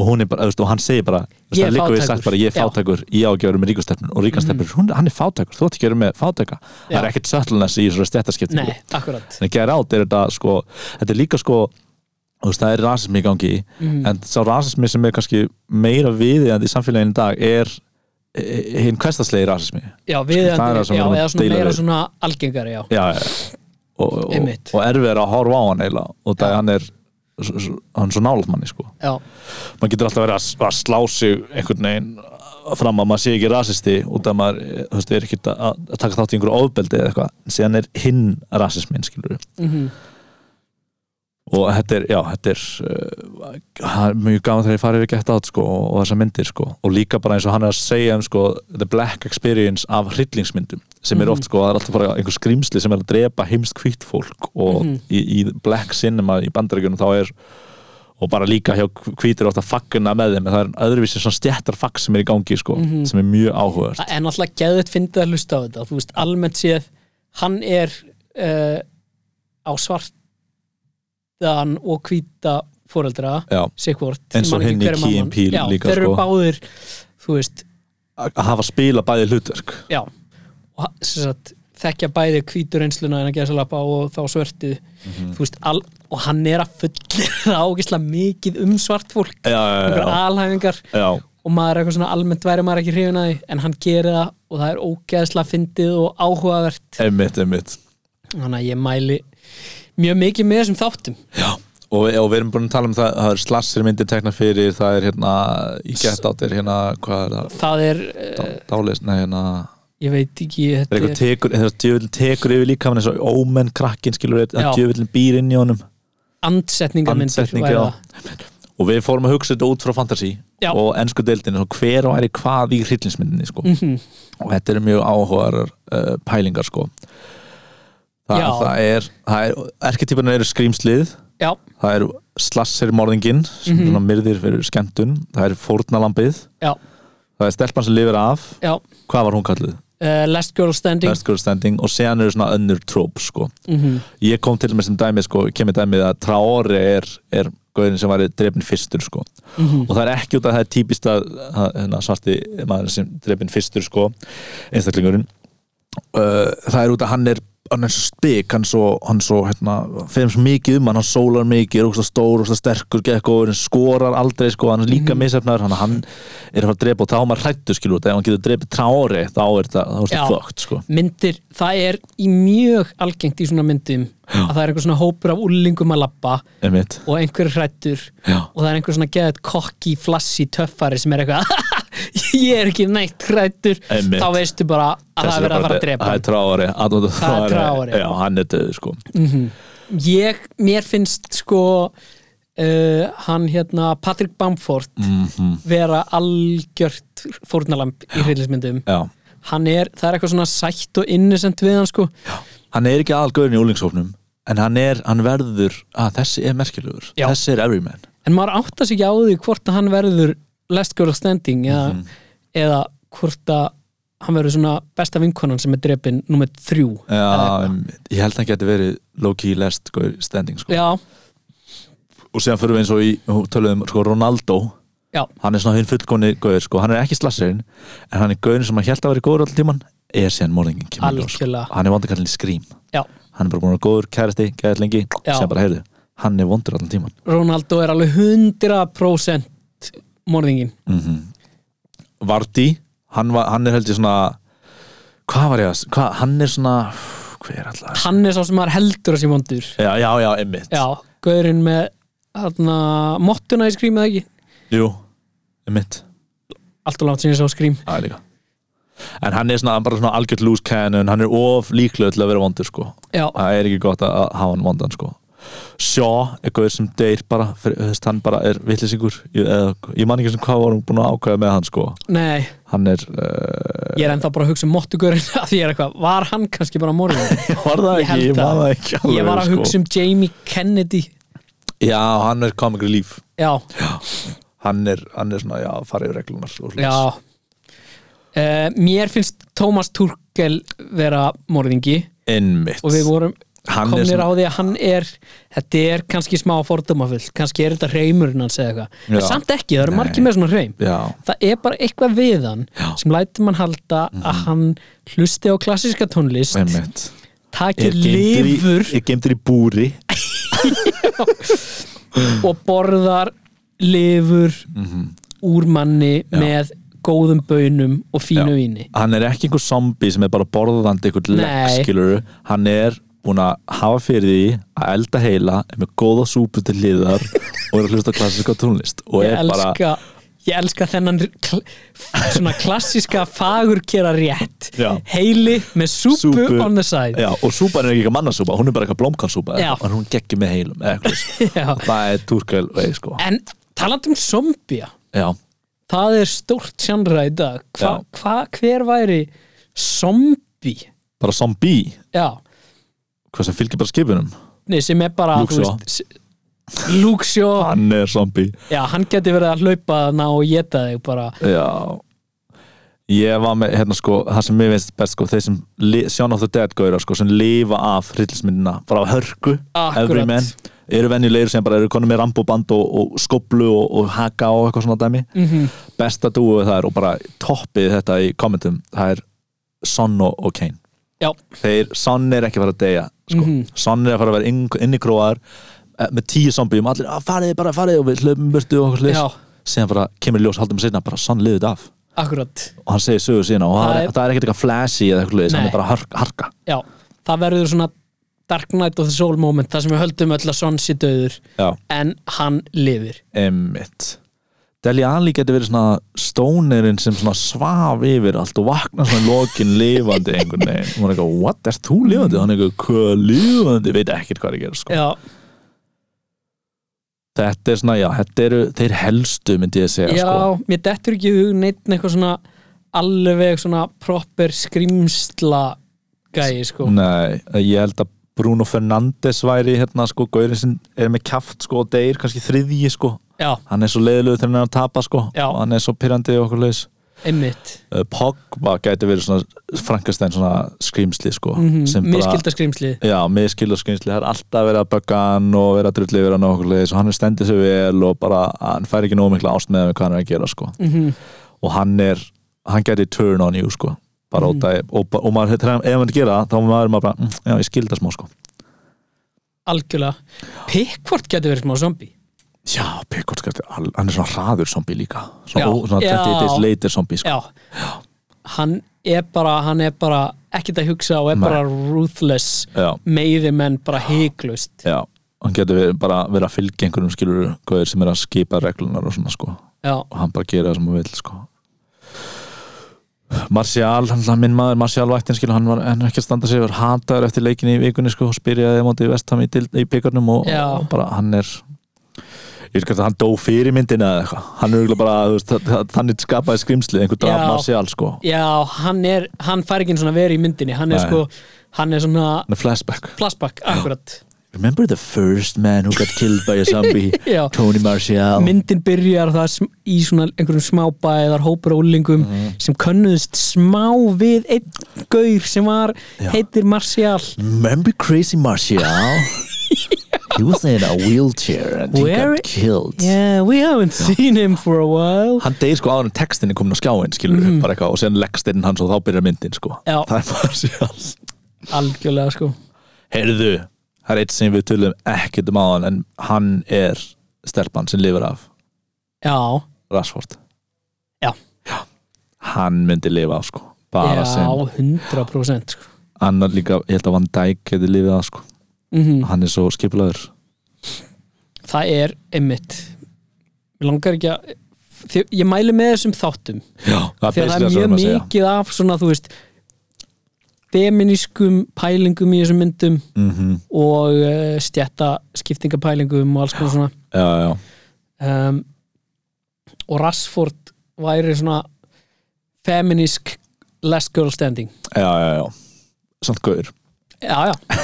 Speaker 3: og hún er bara, þú veist, og hann segir bara þú veist,
Speaker 2: Ég er
Speaker 3: það liggur við
Speaker 2: fátækur.
Speaker 3: sagt bara, ég er
Speaker 2: Já.
Speaker 3: fátækur, ég ágjörum með ríkastelpun og ríkastelpun, mm. hann er fátækur, þú átt ekki að vera með fátæka það
Speaker 2: Já.
Speaker 3: er ekkert söttlunnes í svona stættaskiptingu
Speaker 2: nei, akkurat
Speaker 3: en gerð átt sko. er þetta sko þetta er líka sko þú veist, það er rasismi í gangi
Speaker 2: Mm.
Speaker 3: en sá rasismi sem er kannski meira viðiðandi í samfélaginu í dag er eh, hinn hverstaslegi rasismi
Speaker 2: já, við
Speaker 3: það er það sem við
Speaker 2: já,
Speaker 3: erum að
Speaker 2: eða svona
Speaker 3: deila
Speaker 2: meira
Speaker 3: við.
Speaker 2: svona algengari, já,
Speaker 3: já, já, já. og, og,
Speaker 2: Einmitt.
Speaker 3: og erfið er að horfa á hann eiginlega og
Speaker 2: Já.
Speaker 3: það er hann er s- s- hann er svo nálægt manni sko
Speaker 2: já,
Speaker 3: maður getur alltaf verið að, s- að slá sig einhvern veginn fram að maður sé ekki rasisti út af maður, eh, þú veist, er ekki að, að taka þátt í einhverju ofbeldi eða eitthvað en síðan er hinn rasismin, skilur
Speaker 2: mhm
Speaker 3: og þetta er, já, þetta er uh, það er mjög gaman þegar ég farið við gett átt sko, og, og þessar myndir sko. og líka bara eins og hann er að segja um sko, the black experience af hryllingsmyndum sem er oft, sko, það er alltaf bara einhver skrimsli sem er að drepa heimst hvitt fólk og
Speaker 2: Mhm.
Speaker 3: í, í black cinema í bandaríkjunum þá er og bara líka hjá hvítir oft að fagguna með þeim en það er öðruvísi svona stjættar fagg sem er í gangi sko, sem er mjög áhugað
Speaker 2: Það er náttúrulega geðið fyndið að hlusta á þetta þú veist, almennt séð hann er uh, á svartan og hvíta foreldra
Speaker 3: já,
Speaker 2: sikkvort,
Speaker 3: Eins og hinn í Key and Peele
Speaker 2: já,
Speaker 3: líka,
Speaker 2: þeir eru
Speaker 3: sko.
Speaker 2: báðir þú veist,
Speaker 3: að hafa spila bæði hlutverk
Speaker 2: já og ha- sem sagt, þekkja bæði hvítur einsluna en að gesa lappa og þá svörtið
Speaker 3: Mhm.
Speaker 2: þú veist, al, og hann er að fulla ágislega mikið um svart fólk
Speaker 3: já, já, já,
Speaker 2: einhverja
Speaker 3: já,
Speaker 2: alhæfingar
Speaker 3: já,
Speaker 2: og maður er eitthvað svona almennt væri maður ekki hrifin að því en hann gerir það og það er ógeðslega fyndið og áhugavert
Speaker 3: einmitt, einmitt
Speaker 2: þannig að ég mæli mjög mikið með þessum þáttum
Speaker 3: Já, og, og við erum búin að tala um það, það er slassir myndir tekna fyrir, það er hérna í gett átt er hérna, hvað er það
Speaker 2: það er, eh,
Speaker 3: Dá- dális, nei hérna
Speaker 2: ég veit ekki
Speaker 3: er
Speaker 2: þetta
Speaker 3: eitthvað
Speaker 2: er,
Speaker 3: tekur, þegar djöfullin tekur yfir líka eins og ómenn krakkin skilur við,
Speaker 2: Já.
Speaker 3: að djöfullin býr inn í honum
Speaker 2: andsetningamyndir
Speaker 3: Andsetninga,
Speaker 2: væri
Speaker 3: já.
Speaker 2: það.
Speaker 3: og við fórum að hugsa þetta út frá fantasy
Speaker 2: Já.
Speaker 3: og ennsku deildin, og hver væri hvað í hryllinsmyndinni sko.
Speaker 2: Mhm.
Speaker 3: og þetta eru mjög áhugaðar uh, pælingar sko Þa,
Speaker 2: Já.
Speaker 3: það er, það er erketypunar eru skrýmslið
Speaker 2: já,
Speaker 3: það er slassir morðingin sem mm
Speaker 2: Mhm.
Speaker 3: -hmm. myrðir fyrir skemmtun það er fórnalambið
Speaker 2: já,
Speaker 3: það er stelpan sem lifir af,
Speaker 2: já
Speaker 3: hvað var hún kalluð?
Speaker 2: uh, last girl standing
Speaker 3: Last Girl Standing og séðan eru svona önnur tróp sko.
Speaker 2: mm
Speaker 3: ég kom til með sem dæmi sko, kemur dæmið að Traore er, er gauðin sem var drefin fyrstur sko.
Speaker 2: Mhm.
Speaker 3: og það er ekki út að það er típist að að, hérna, svarti maður sem drefin fyrstur sko, einstaklingurinn uh, það er út að hann er hann er svo spik, hann svo, hann svo hérna, fyrir svo mikið um hann, hann sólar mikið er ógsta stór, ógsta sterkur, gekkóður skorar aldrei, sko, hann er
Speaker 2: Mhm.
Speaker 3: líka misefnaður hann, hann er að fara að drepa og þá er maður hrættu skilur út, ef hann getur drepið trári þá er það, þá er
Speaker 2: Já.
Speaker 3: það fucked, sko
Speaker 2: myndir, það er í mjög algengt í svona myndum að það er einhver svona hópur af úlingum að labba
Speaker 3: einmitt,
Speaker 2: og einhver er hrættur
Speaker 3: já
Speaker 2: og það er einhver svona geðið kokki, flassi, töffari sem er eitthvað ég er ekki neitt hrættur
Speaker 3: Einmitt.
Speaker 2: þá veistu bara að það
Speaker 3: Þessi
Speaker 2: er verið að fara að
Speaker 3: bara-
Speaker 2: drepa
Speaker 3: Það
Speaker 2: hann.
Speaker 3: er tráari Adolf
Speaker 2: Það er Mm. Traore.
Speaker 3: Já, hann er döðu sko
Speaker 2: ég, mér finnst sko uh, hann hérna Patrick Bamford vera algjört fórnalamb í hryllismyndum
Speaker 3: Mhm. Já
Speaker 2: hann er, það er eitthvað svona sætt og innocent við hann sko
Speaker 3: Hann er ekki aðalgöðin í úlingshófnum En hann er, hann verður að Þessi er merkilegur
Speaker 2: Já.
Speaker 3: Þessi er everyman
Speaker 2: en maður átta sig ekki á því hvort að hann verður last girl standing eða,
Speaker 3: Mhm.
Speaker 2: eða hvort að hann verður svona besta vinkonan sem er drepin nummer þrjú Eh.
Speaker 3: Já, em, ég held að hann geti verið low-key last gaur standing sko
Speaker 2: já,
Speaker 3: Og síðan fyrir við eins og í og Töluðum sko Ronaldo
Speaker 2: já,
Speaker 3: Hann er svona hinn fullkonni gaur sko Hann er ekki slassirinn En hann er gaurin sem hann held að verið góður allir tíman Er síðan morðingin kemur í ljós, sko.
Speaker 2: Algjörlega.
Speaker 3: Hann er vandakallin í skrím
Speaker 2: já
Speaker 3: Hann er bara búin að vera góður kærasti, gæðið lengi
Speaker 2: Já.
Speaker 3: Síðan bara heyrðu, hann er vondur allan tíman
Speaker 2: Ronaldo er alveg 100% morðingin
Speaker 3: mm Vardí hann, var, hann er heldur svona hvað var ég að, s- hvað, hann er svona hver er alltaf
Speaker 2: hann er sá sem maður heldur að sé vondur
Speaker 3: já, já, já, einmitt
Speaker 2: já, gaurinn með þarna, mottuna í skrím eða ekki
Speaker 3: Jú, einmitt
Speaker 2: allt og langt sem ég sá skrím
Speaker 3: Það er líka En hann er svona, hann bara svona algjört loose cannon Hann er of líklega til að vera vondur sko
Speaker 2: já,
Speaker 3: Það er ekki gott að að hafa hann vondan sko Sjá, eitthvað sem deyr bara fyrir, þú veist, Hann bara er vitlisingur ég, eða- ég man ekki sem hvað var hún búin að ákveða með hann sko
Speaker 2: nei,
Speaker 3: Hann er uh,
Speaker 2: ég er ennþá bara að hugsa um mottugurinn að því ég er eitthvað, var hann kannski bara morðin
Speaker 3: Var það
Speaker 2: Ég
Speaker 3: ekki,
Speaker 2: held
Speaker 3: ég man
Speaker 2: að-
Speaker 3: það ekki alveg,
Speaker 2: ég var að
Speaker 3: sko.
Speaker 2: hugsa um Jamie Kennedy
Speaker 3: Já, hann er comic relief
Speaker 2: já,
Speaker 3: Hann er, hann er svona, já, farið reglunar og svoleiðis.
Speaker 2: já uh, mér finnst Thomas Turkel vera morðingi
Speaker 3: Einmitt
Speaker 2: og við vorum
Speaker 3: Hann er
Speaker 2: komnir
Speaker 3: svona-
Speaker 2: á því að hann er þetta er kannski smá fordumafullt kannski er þetta hreimurinn hans eða eitthvað en
Speaker 3: Já.
Speaker 2: samt ekki, það eru
Speaker 3: Nei.
Speaker 2: margir með svona hreim
Speaker 3: Já,
Speaker 2: það er bara eitthvað við hann sem lætur mann halda að hann hlusti á klassíska tónlist
Speaker 3: Mhm. einmitt
Speaker 2: taki
Speaker 3: Er geymdur í-
Speaker 2: lifur
Speaker 3: Er gemdur í búri
Speaker 2: og borðar lifur
Speaker 3: Mhm.
Speaker 2: úr manni með góðum bönum og fínu
Speaker 3: Já.
Speaker 2: víni
Speaker 3: hann er ekki einhver zombie sem er bara borðandi einhvern legg,
Speaker 2: Nei.
Speaker 3: skilur hann er búin að hafa fyrir því að elda heila er með góða súpu til hliðar og er að hlusta á klassiska tónlist og
Speaker 2: ég
Speaker 3: er bara
Speaker 2: elska, ég elska þennan kl svona klassiska fagurkera rétt
Speaker 3: Já.
Speaker 2: heili með súpu,
Speaker 3: Súpu.
Speaker 2: on the side
Speaker 3: Já, og súpan er ekki eitthvað mannasúpa, hún er bara eitthvað blómkansúpa
Speaker 2: Já.
Speaker 3: en hún geggjum með heilum eða eitthvað svoleiðis.
Speaker 2: Já.
Speaker 3: það er túrkæl og eigi sko
Speaker 2: en talandi um zombia
Speaker 3: Já,
Speaker 2: það er stórt sjandra í dag hva,
Speaker 3: Já.
Speaker 2: hva, hver væri zombi
Speaker 3: bara zombie
Speaker 2: já,
Speaker 3: hvað sem fylgir bara skipunum
Speaker 2: nei, sem er bara
Speaker 3: Luke
Speaker 2: þú
Speaker 3: Shaw.
Speaker 2: s- Luke Shaw
Speaker 3: hann er zombie
Speaker 2: já, hann geti verið að hlaupa þarna og geta þig bara
Speaker 3: Já Ég var með, hérna sko, það sem mér veist best sko, þeir sem, li- Shaun of the Dead gauðra sko, sem lifa af hryllismyndina bara af hörku,
Speaker 2: Akkurat.
Speaker 3: everyman eru venjulegir sem bara eru konum með ramboband og, og skoblu og, og haka og eitthvað svona dæmi -hmm. besta dúið það er og bara toppið þetta í kommentum það er Son og, og Kane
Speaker 2: já,
Speaker 3: þeir, Son er ekki að fara að deyja sko.
Speaker 2: Mhm.
Speaker 3: Son er að fara að vera inn, innikróar með tíu zombiðum, allir að fariði bara fariði og við hlöfum burtu og
Speaker 2: Já.
Speaker 3: okkur slið síðan bara kemur í ljós haldum sinna bara Son liðið af
Speaker 2: akkurat
Speaker 3: og hann segir sögur sína og það,
Speaker 2: Það
Speaker 3: er,
Speaker 2: er-
Speaker 3: það er ekkert eitthvað flashy eða eitthvað leiðis, hann
Speaker 2: Nei.
Speaker 3: er bara harka, harka.
Speaker 2: já, það verður svona Dark Knight of the Soul moment þar sem við höldum öll að sonn sé döður
Speaker 3: Já,
Speaker 2: en hann lifir
Speaker 3: emmitt Deli Ali getur verið svona stónerinn sem svona svaf yfir allt og vaknar svona í lokin lifandi einhvern veginn og hann er eitthvað, what, er þú lifandi? og hann er eitthvað, hvað lifandi? veit ekkert hvað er að gera sko.
Speaker 2: já,
Speaker 3: þetta er svona, já, þetta eru þeir helstu myndi ég að segja
Speaker 2: já
Speaker 3: sko.
Speaker 2: mér dettur ekki í hug neitt eitthvað svona alveg svona proper skrýmsla gæi sko
Speaker 3: Nei, ég held að Bruno Fernandes væri hérna sko, gaurinn sem er með kjaft sko og deyr, kannski þriðji sko
Speaker 2: já,
Speaker 3: hann er svo leiðilegu þegar hann er að tapa sko
Speaker 2: Já.
Speaker 3: og hann er svo pyrrandi og okkur leiðis
Speaker 2: einmitt
Speaker 3: Uh, Pogba gæti verið svona Frankenstein svona skrýmsli sko
Speaker 2: Mhm,
Speaker 3: sem bara,
Speaker 2: miskilda skrýmslið
Speaker 3: já, miskilda skrýmsli það er alltaf verið að bögga hann og verið að drulli yfir hann og okkur leiðis og hann er stendið sér vel og bara, hann fær ekki nóg mikla ást með hvað hann er að gera sko
Speaker 2: Mhm.
Speaker 3: og hann er, hann gæti turn on you sko bara mm
Speaker 2: Mhm.
Speaker 3: -hmm. og, og, og maður, þegar- ef hann gera það, þá maður maður bara, mm, já, ég skilda smá sko
Speaker 2: algjörlega Pickford getur verið smá zombi
Speaker 3: já, Pickford gæti, al- hann er svona hraður zombi líka
Speaker 2: Já.
Speaker 3: svona, ó, svona
Speaker 2: Já.
Speaker 3: 28 days later zombi sko
Speaker 2: já, hann er bara hann er bara ekkert að hugsa og er
Speaker 3: Nei.
Speaker 2: bara ruthless
Speaker 3: já.
Speaker 2: meiði menn bara heiklust
Speaker 3: Já, hann getur verið, bara verið að fylgja einhverjum skilur guður sem er að skipa reglunar og svona sko og
Speaker 2: já,
Speaker 3: hann bara gera það sem hann vil sko Marcial, hann hann minn maður Marcial Vættin skilur, hann var enn ekki að standa sig var hataður eftir leikin í vikunni sko og spyrjaði á móti vestam í, dild- í byggarnum og,
Speaker 2: Já.
Speaker 3: og bara hann er ég veit hvað hann dó fyrir myndina eða eitthvað hann er örugglega bara, þú veist, þa- þa- þannig skapaði skrimslið einhver draf
Speaker 2: Já.
Speaker 3: Marcial sko
Speaker 2: já hann er hann fær ekki einu svona verið í myndinni hann er
Speaker 3: Nei.
Speaker 2: sko, hann er svona
Speaker 3: hann er flashback
Speaker 2: flashback, akkurat
Speaker 3: Remember the first man who got killed by a zombie
Speaker 2: Já.
Speaker 3: Tony Marcial
Speaker 2: myndin byrjar það sm- í svona einhverjum smábæðar, hópur ólingum
Speaker 3: Mhm.
Speaker 2: sem könnuðust smá við einn gaur sem var
Speaker 3: Já.
Speaker 2: heitir Marcial
Speaker 3: Remember Crazy Martial? he was in a wheelchair and
Speaker 2: Where-
Speaker 3: he got killed.
Speaker 2: yeah, we haven't seen him for a while
Speaker 3: Hann deyr sko áður en textin er komin á skjáin, skilur
Speaker 2: Mm.
Speaker 3: við, bara eitthvað, og sen leggst inn hans og þá byrjar myndin, sko.
Speaker 2: Já.
Speaker 3: Það er Martial.
Speaker 2: algjörlega sko
Speaker 3: Heyrðu, það er eitt sem við tölum ekkert um áðan, en hann er stelpan sem lifir af
Speaker 2: já,
Speaker 3: Rashford.
Speaker 2: já,
Speaker 3: hann myndi lifa af, sko bara
Speaker 2: Já,
Speaker 3: sem
Speaker 2: 100% sko.
Speaker 3: annar líka, ég held að Van Dijk geti lifið af, sko
Speaker 2: Mhm.
Speaker 3: hann er svo skipulaður
Speaker 2: Það er einmitt Mér langar ekki að Þi- Ég mæli með þessum þáttum
Speaker 3: Já,
Speaker 2: Þegar það
Speaker 3: það basically
Speaker 2: er mjög
Speaker 3: það sem við erum að segja.
Speaker 2: mikið af svona, þú veist feminískum pælingum í þessum myndum
Speaker 3: Mhm.
Speaker 2: og uh, stjætta skiptingapælingum og alls konar svona
Speaker 3: Já, já,
Speaker 2: um, og Rashford væri svona feminísk last girl standing
Speaker 3: já, já, já Samt gauður
Speaker 2: já, já,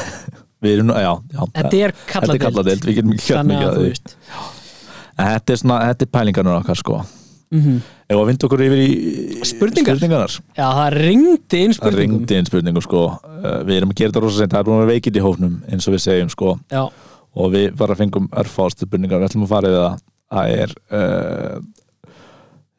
Speaker 3: Við erum, nú- já, já
Speaker 2: þetta er
Speaker 3: Þetta er kalladeild,
Speaker 2: kalladeild
Speaker 3: við getum ekki gert
Speaker 2: þannig að
Speaker 3: mikið að
Speaker 2: þú
Speaker 3: því
Speaker 2: veist
Speaker 3: En Þetta er svona, þetta er pælingarnar okkar sko
Speaker 2: mm
Speaker 3: Ef að vinda okkur yfir í
Speaker 2: Spurningar.
Speaker 3: spurningarnar
Speaker 2: já, það ringdi inn
Speaker 3: Það
Speaker 2: spurningum
Speaker 3: ringdi inn spurningum sko Eh, Við erum að gera þetta rosa sent, það er búin að vera veikind í hófnum eins og við segjum sko
Speaker 2: já,
Speaker 3: og við bara fengum örfáðstu spurningar við ætlum að fara yfir það Það er uh,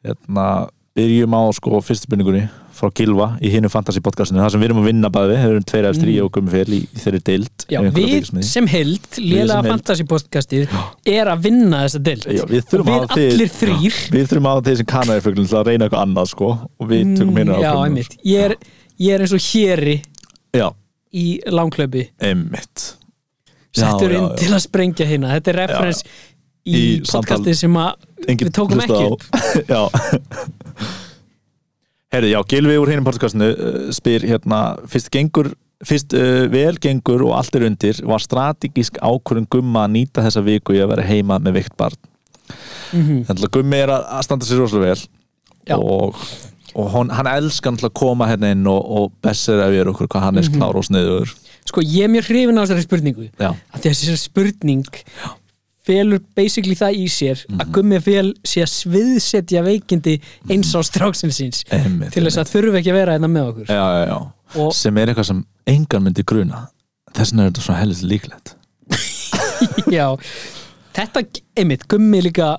Speaker 3: hérna, byrjum á sko fyrstu spurningunni frá Gilva í hinu fantasy podcastinu það sem við erum að vinna bæði við, við erum tveir eftir mm. ég og gummi fyrir í þeirri deild
Speaker 2: já,
Speaker 3: ef einhver er að
Speaker 2: við
Speaker 3: fylgjast með því.
Speaker 2: sem held
Speaker 3: sem
Speaker 2: lélega
Speaker 3: heild.
Speaker 2: fantasy podcastið er að vinna þessa deild
Speaker 3: Já, við
Speaker 2: og
Speaker 3: þurfum að
Speaker 2: við
Speaker 3: hafa þið-
Speaker 2: allir þrýr
Speaker 3: Við þurfum að hafa þeir sem kanariföglun til að reyna eitthvað annað sko og við tökum hérna
Speaker 2: Mm, já, einmitt, ég er, ég er eins og héri
Speaker 3: Já,
Speaker 2: í langklöpi
Speaker 3: einmitt Já,
Speaker 2: settur
Speaker 3: já,
Speaker 2: inn
Speaker 3: já.
Speaker 2: til að sprengja hérna þetta er referens í,
Speaker 3: Í
Speaker 2: podcastið sem að við tókum ekki
Speaker 3: hlustaði á.
Speaker 2: upp
Speaker 3: Já Herri, já, Gilvi úr hinum podcastinu uh, spyr hérna, fyrst gengur fyrst uh, vel gengur og allt er undir var strategísk ákvörðun gumma að nýta þessa viku í að vera heima með veikt barn
Speaker 2: Mhm.
Speaker 3: Þannig að gummi er að að standa sér rosalega vel
Speaker 2: Já.
Speaker 3: og, og hon, hann elskar náttúrulega að koma hérna inn og, og besser að við okkur hvað hann er
Speaker 2: Mhm.
Speaker 3: klár og sniður
Speaker 2: sko ég er mjög hrifin á þessari spurningu
Speaker 3: Já,
Speaker 2: að þessi spurning felur basically það í sér
Speaker 3: Mhm.
Speaker 2: að gummi fel sé að sviðsetja veikindi eins á stráksin síns
Speaker 3: Mhm. einmitt,
Speaker 2: til þess að þurfi ekki að vera hérna með okkur
Speaker 3: já, já, já.
Speaker 2: Og-
Speaker 3: sem er eitthvað sem engan myndi gruna þess vegna er þetta svo helvist líklegt
Speaker 2: já, þetta einmitt, gummi líka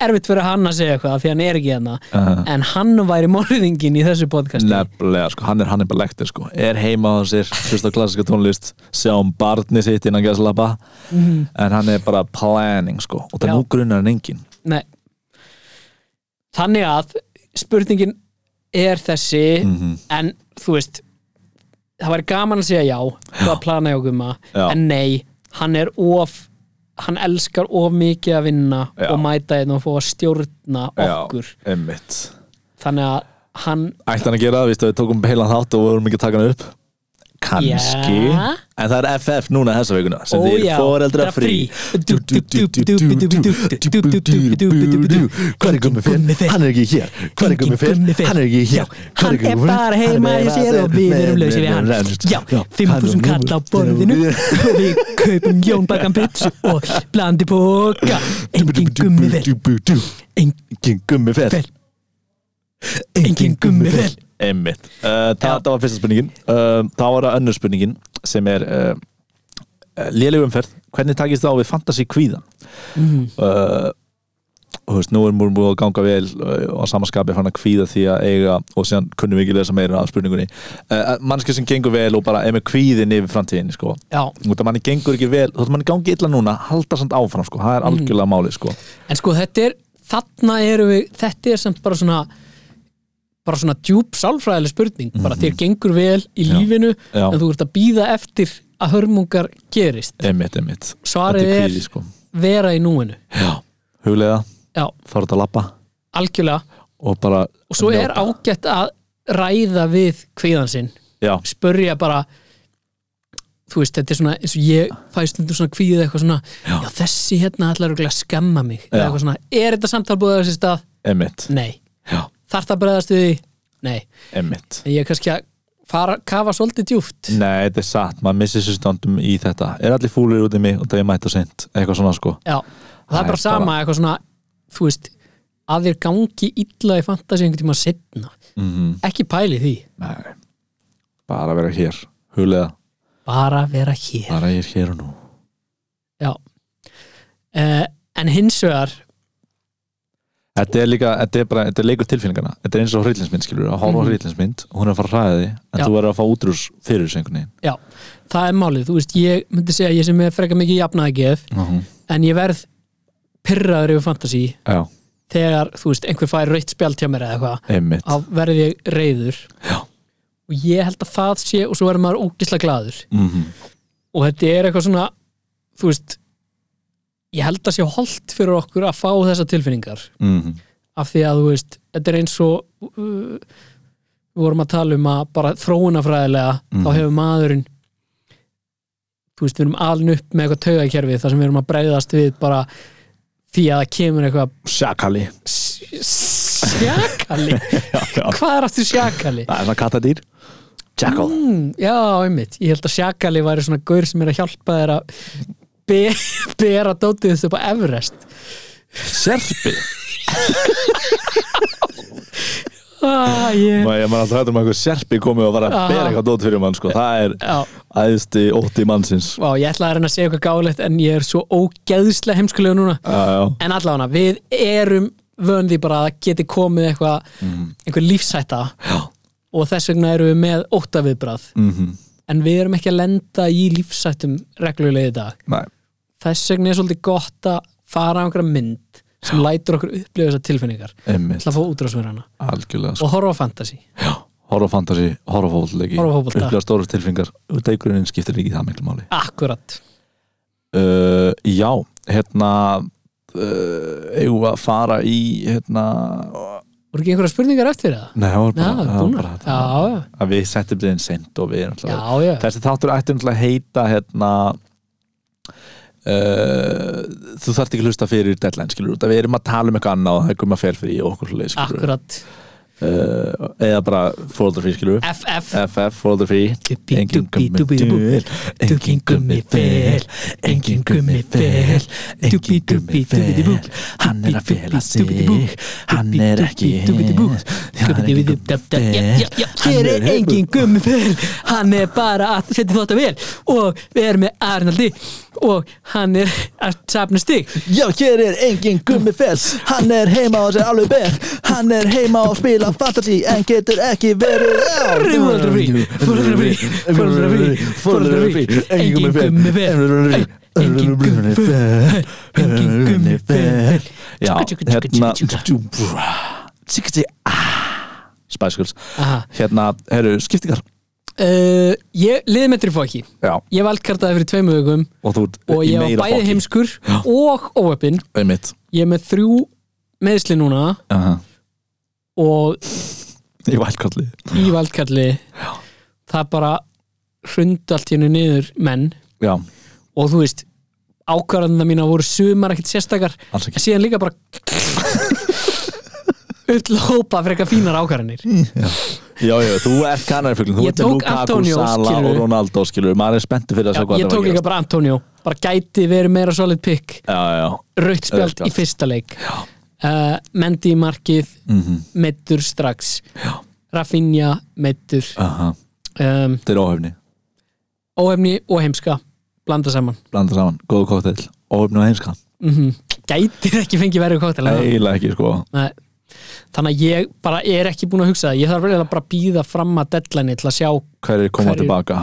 Speaker 2: erfitt fyrir hann að segja eitthvað af því hann er ekki hérna
Speaker 3: uh,
Speaker 2: en hann væri morðingin í þessu podcasti
Speaker 3: nefnilega, sko, hann er hann er bara lektir sko. er heima á sér, hlusta á klassiska tónlist sjá um barni sitt innan gæðslappa en hann er bara planning sko. og það
Speaker 2: Mhm. Já.
Speaker 3: nú grunar hann engin
Speaker 2: Nei. þannig að spurningin er þessi
Speaker 3: Mhm.
Speaker 2: en þú veist það væri gaman að segja já hvað að plana hjá Gumma
Speaker 3: Já.
Speaker 2: en nei, hann er of hann elskar of mikið að vinna
Speaker 3: Já.
Speaker 2: og mæta einn og fá að stjórna okkur
Speaker 3: já, einmitt
Speaker 2: þannig að hann
Speaker 3: ætti hann að gera það, vístu, við tókum heilan þátt og vorum ekki að taka hann upp kannski,
Speaker 2: Já.
Speaker 3: en það er FF núna þessa vikuna sem
Speaker 2: Ó,
Speaker 3: þið
Speaker 2: já,
Speaker 3: er foreldra frí
Speaker 2: Hvar
Speaker 3: hvað er gummi fyrr? hann er ekki hér hvað er gummi fyrr? hann er ekki hér Hvar
Speaker 2: Hann er
Speaker 3: Gummi Finn?
Speaker 2: bara heima í sér og við erum lausir við hann Já, 5.000 kall á borðinu og við kaupum jónbakan pizza og blandi póka Engin gummi vel,
Speaker 3: engin gummi fyrr
Speaker 2: Fyrr. engin gummi vel
Speaker 3: Einmitt. Uh, það, það var fyrsta spurningin uh, Það var önnur spurningin sem er uh, Léleg umferð Hvernig takist það á við fantasy kvíðan? Mm. Uh, og þú veist, nú er múlum búið að ganga vel uh, og að samaskapi fann að kvíða því að eiga og síðan kunnum við ekki lesa meira af spurningunni uh, Mannski sem gengur vel og bara er með kvíðin yfir framtíðinni sko
Speaker 2: Já,
Speaker 3: Út að manni gengur ekki vel, þótt manni gangi illa núna halda samt áfram sko,
Speaker 2: Mm.
Speaker 3: það er algjörlega máli sko
Speaker 2: en sko þetta er þarna erum við, þetta er samt bara svona bara svona djúb sálfræðileg spurning bara þér gengur vel í
Speaker 3: Mhm. Já.
Speaker 2: lífinu
Speaker 3: Já.
Speaker 2: en þú ert að býða eftir að hörmungar gerist
Speaker 3: Einmitt, einmitt,
Speaker 2: Svarið
Speaker 3: þetta
Speaker 2: er-
Speaker 3: er kvíði sko
Speaker 2: vera í núinu
Speaker 3: Já, huglega,
Speaker 2: Já,
Speaker 3: þá er þetta að lappa
Speaker 2: algjörlega
Speaker 3: og bara
Speaker 2: og svo er ágætt að ræða við kvíðan sinn
Speaker 3: já,
Speaker 2: spörja bara þú veist, þetta er svona eins og ég fæ stundum svona kvíðið eitthvað svona já, þessi hérna ætlar örugglega að skamma mig eða
Speaker 3: Já.
Speaker 2: eitthvað svona, er þetta samtal búið að þessi stað?
Speaker 3: emitt
Speaker 2: Nei,
Speaker 3: já,
Speaker 2: þarf það að bregðast við því? Nei,
Speaker 3: emitt
Speaker 2: en ég er kannski að fara, kafa svolítið djúft
Speaker 3: Nei, þetta er satt, maður missir sér stöndum í þetta Er allir fúlir út í mig og það er mætt og sent Eitthvað svona sko
Speaker 2: Já, og það
Speaker 3: Það
Speaker 2: er
Speaker 3: er
Speaker 2: bara sama
Speaker 3: bara-
Speaker 2: eitthvað svona, þú veist að þér gangi illa í fantasi einhvern tíma setna,
Speaker 3: mm -hmm.
Speaker 2: ekki pæli því
Speaker 3: Nei, bara vera hér Huglega,
Speaker 2: bara vera hér
Speaker 3: bara ég er hér og nú
Speaker 2: Já uh, En hins vegar
Speaker 3: Þetta er líka, þetta er bara, þetta er leikur tilfinningana Þetta er eins og hryllinsmynd, skilur að horfa á hryllinsmynd Hún er að fara að hræða því, en
Speaker 2: Mhm. Já.
Speaker 3: þú verður að fá útrús fyrir þessu einhvern veginn
Speaker 2: Já, það er málið, þú veist, ég myndi segja að ég sem er frekar mikið jafnaðgeð
Speaker 3: mm -hmm.
Speaker 2: en ég verð pyrraður yfir fantasi
Speaker 3: Já,
Speaker 2: þegar, þú veist, einhver fær rautt spjald hjá mér eða eitthvað,
Speaker 3: einmitt
Speaker 2: þá verði ég reyður
Speaker 3: Já.
Speaker 2: og ég held að það sé og svo verður maður ógislega glaður
Speaker 3: Mhm.
Speaker 2: og þetta er eitthvað svona þú veist ég held að sé holdt fyrir okkur að fá þessa tilfinningar
Speaker 3: Mhm.
Speaker 2: af því að þú veist, þetta er eins og uh, við vorum að tala um að bara þróunafræðilega þá
Speaker 3: Mhm.
Speaker 2: hefur maðurinn þú veist, við erum aln upp með eitthvað taugakerfi þar sem við erum að breyðast við bara því að það kemur eitthvað
Speaker 3: Sjakali
Speaker 2: s- s- sjakali
Speaker 3: Já, já.
Speaker 2: hvað er aftur sjakali?
Speaker 3: Það er svona kattadýr Jackal
Speaker 2: Mm, já, einmitt, ég held að sjakali væri svona gaur sem er að hjálpa þér að be, bera dótið þitt upp á Everest
Speaker 3: Serpi
Speaker 2: ah, ég,
Speaker 3: Maður er alltaf hættur um að einhver serpi komi og var að
Speaker 2: Aha.
Speaker 3: bera eitthvað dót fyrir mann sko. Það er
Speaker 2: já
Speaker 3: æðsti ótti mannsins
Speaker 2: Vá, ég ætlaði að reyna að segja eitthvað gálegt en ég er svo ógeðslega heimskulega núna
Speaker 3: Já, já
Speaker 2: en allavega, við erum vön því bara að það geti komið eitthvað
Speaker 3: Mhm.
Speaker 2: einhver lífshætta
Speaker 3: Já
Speaker 2: og þess vegna erum við með óttaviðbrað
Speaker 3: Mhm.
Speaker 2: en við erum ekki að lenda í lífshættum reglulega í dag
Speaker 3: Nei
Speaker 2: þess vegna er svolítið gott að fara á einhverja mynd sem lætur okkur upplifa þessar tilfinningar
Speaker 3: Einmitt
Speaker 2: til að fá útrásverðana
Speaker 3: Algjörlega sko.
Speaker 2: og horfa á fantasy
Speaker 3: Horfa á fantasy, horfa á fótbolleiki
Speaker 2: Horfa á fótbolta.
Speaker 3: Upplifa stóru tilfingar Dækurinn skiptir ekki það miklu máli
Speaker 2: akkurat
Speaker 3: uh, Já, hérna uh, Eigum við að fara í hérna
Speaker 2: voru ekki einhverja spurningar eftir það?
Speaker 3: Nei, það var bara,
Speaker 2: Já,
Speaker 3: það var
Speaker 2: búnar.
Speaker 3: bara
Speaker 2: Já, já.
Speaker 3: að Við settum þeim sent og við erum
Speaker 2: Já,
Speaker 3: alltaf
Speaker 2: já,
Speaker 3: þessi þáttur ætti náttúrulega að heita hérna uh, þú þarft ekki að hlusta fyrir deadline skilur út að við erum að tala um eitthvað annað og það er komið að fer fyrir og okkur svolítið skilur
Speaker 2: akkurat
Speaker 3: uh, eða bara fórhaldur fyrir skilur
Speaker 2: FF
Speaker 3: FF fórhaldur fyrir
Speaker 2: Dubbi, dubbi, dubbi, dubbi.
Speaker 3: engin gummi fel engin gummi fel engin gummi fel hann er að fela sig hann er ekki hann er engin fel
Speaker 2: Hér er engin gummifel Hann er bara að setja þótt að vel Og við erum með Arnaldi Og hann er að safna stig
Speaker 3: Já, hér er engin gummifels Hann er heima og sér alveg ber Hann er heima og spila fantasy En getur ekki verið á
Speaker 2: Fóröldrafrí, fóröldrafrí, fóröldrafrí, fóröldrafrí. Engin gummifel. Engin gummifel. Engin gummifel.
Speaker 3: Já,
Speaker 2: Tjúka, tjúka,
Speaker 3: hérna
Speaker 2: tjúka,
Speaker 3: Tjúka, tjúka, ah. Spice Girls
Speaker 2: Aha.
Speaker 3: Hérna, herru, skiptingar
Speaker 2: uh, Ég liði með trifóki
Speaker 3: Já,
Speaker 2: Ég valdkartaði fyrir tveimu hugum
Speaker 3: og þú ert
Speaker 2: Og
Speaker 3: í
Speaker 2: ég
Speaker 3: meira
Speaker 2: var bæði
Speaker 3: fokki.
Speaker 2: heimskur
Speaker 3: Já.
Speaker 2: Og óöppin
Speaker 3: Einmitt
Speaker 2: Ég er með þrjú meðsli núna
Speaker 3: Aha.
Speaker 2: Og
Speaker 3: Í valdkalli
Speaker 2: í valdkarli Það bara hrund allt hérna niður menn
Speaker 3: Já,
Speaker 2: og þú veist ákvarðanina mína voru sumar ekkert sérstakar
Speaker 3: alls ekki
Speaker 2: en síðan líka bara upp til að hópa fyrir eitthvað fínar ákvarðanir
Speaker 3: Mm. Já, já, þú ert kanarfuglin, þú
Speaker 2: Ég
Speaker 3: ert með
Speaker 2: tók
Speaker 3: Lukaku,
Speaker 2: Antonio,
Speaker 3: Sala
Speaker 2: skilurðu.
Speaker 3: og Ronaldo, skilur maður er spenntið fyrir að
Speaker 2: Já,
Speaker 3: sjá hvað
Speaker 2: ég
Speaker 3: það
Speaker 2: tók
Speaker 3: var að
Speaker 2: líka
Speaker 3: gerast
Speaker 2: bara Antonio bara gæti verið meira solid pick
Speaker 3: Já, já,
Speaker 2: raukt
Speaker 3: Rautt
Speaker 2: spjald
Speaker 3: spjald.
Speaker 2: í fyrsta leik uh, Mendy í markið
Speaker 3: mm -hmm.
Speaker 2: meittur strax Rafinha meittur um,
Speaker 3: þetta er óhefni,
Speaker 2: óefni og heimska blanda saman
Speaker 3: blanda saman, góðu kokteil óhefni og heimska,
Speaker 2: mm gætir ekki fengið verið kóttel
Speaker 3: eiginlega ekki sko
Speaker 2: Nei. Þannig að ég bara er ekki búin að hugsa það Ég þarf vel að bara býða fram að deadline til að sjá
Speaker 3: hverjir koma
Speaker 2: Hverjir-
Speaker 3: tilbaka,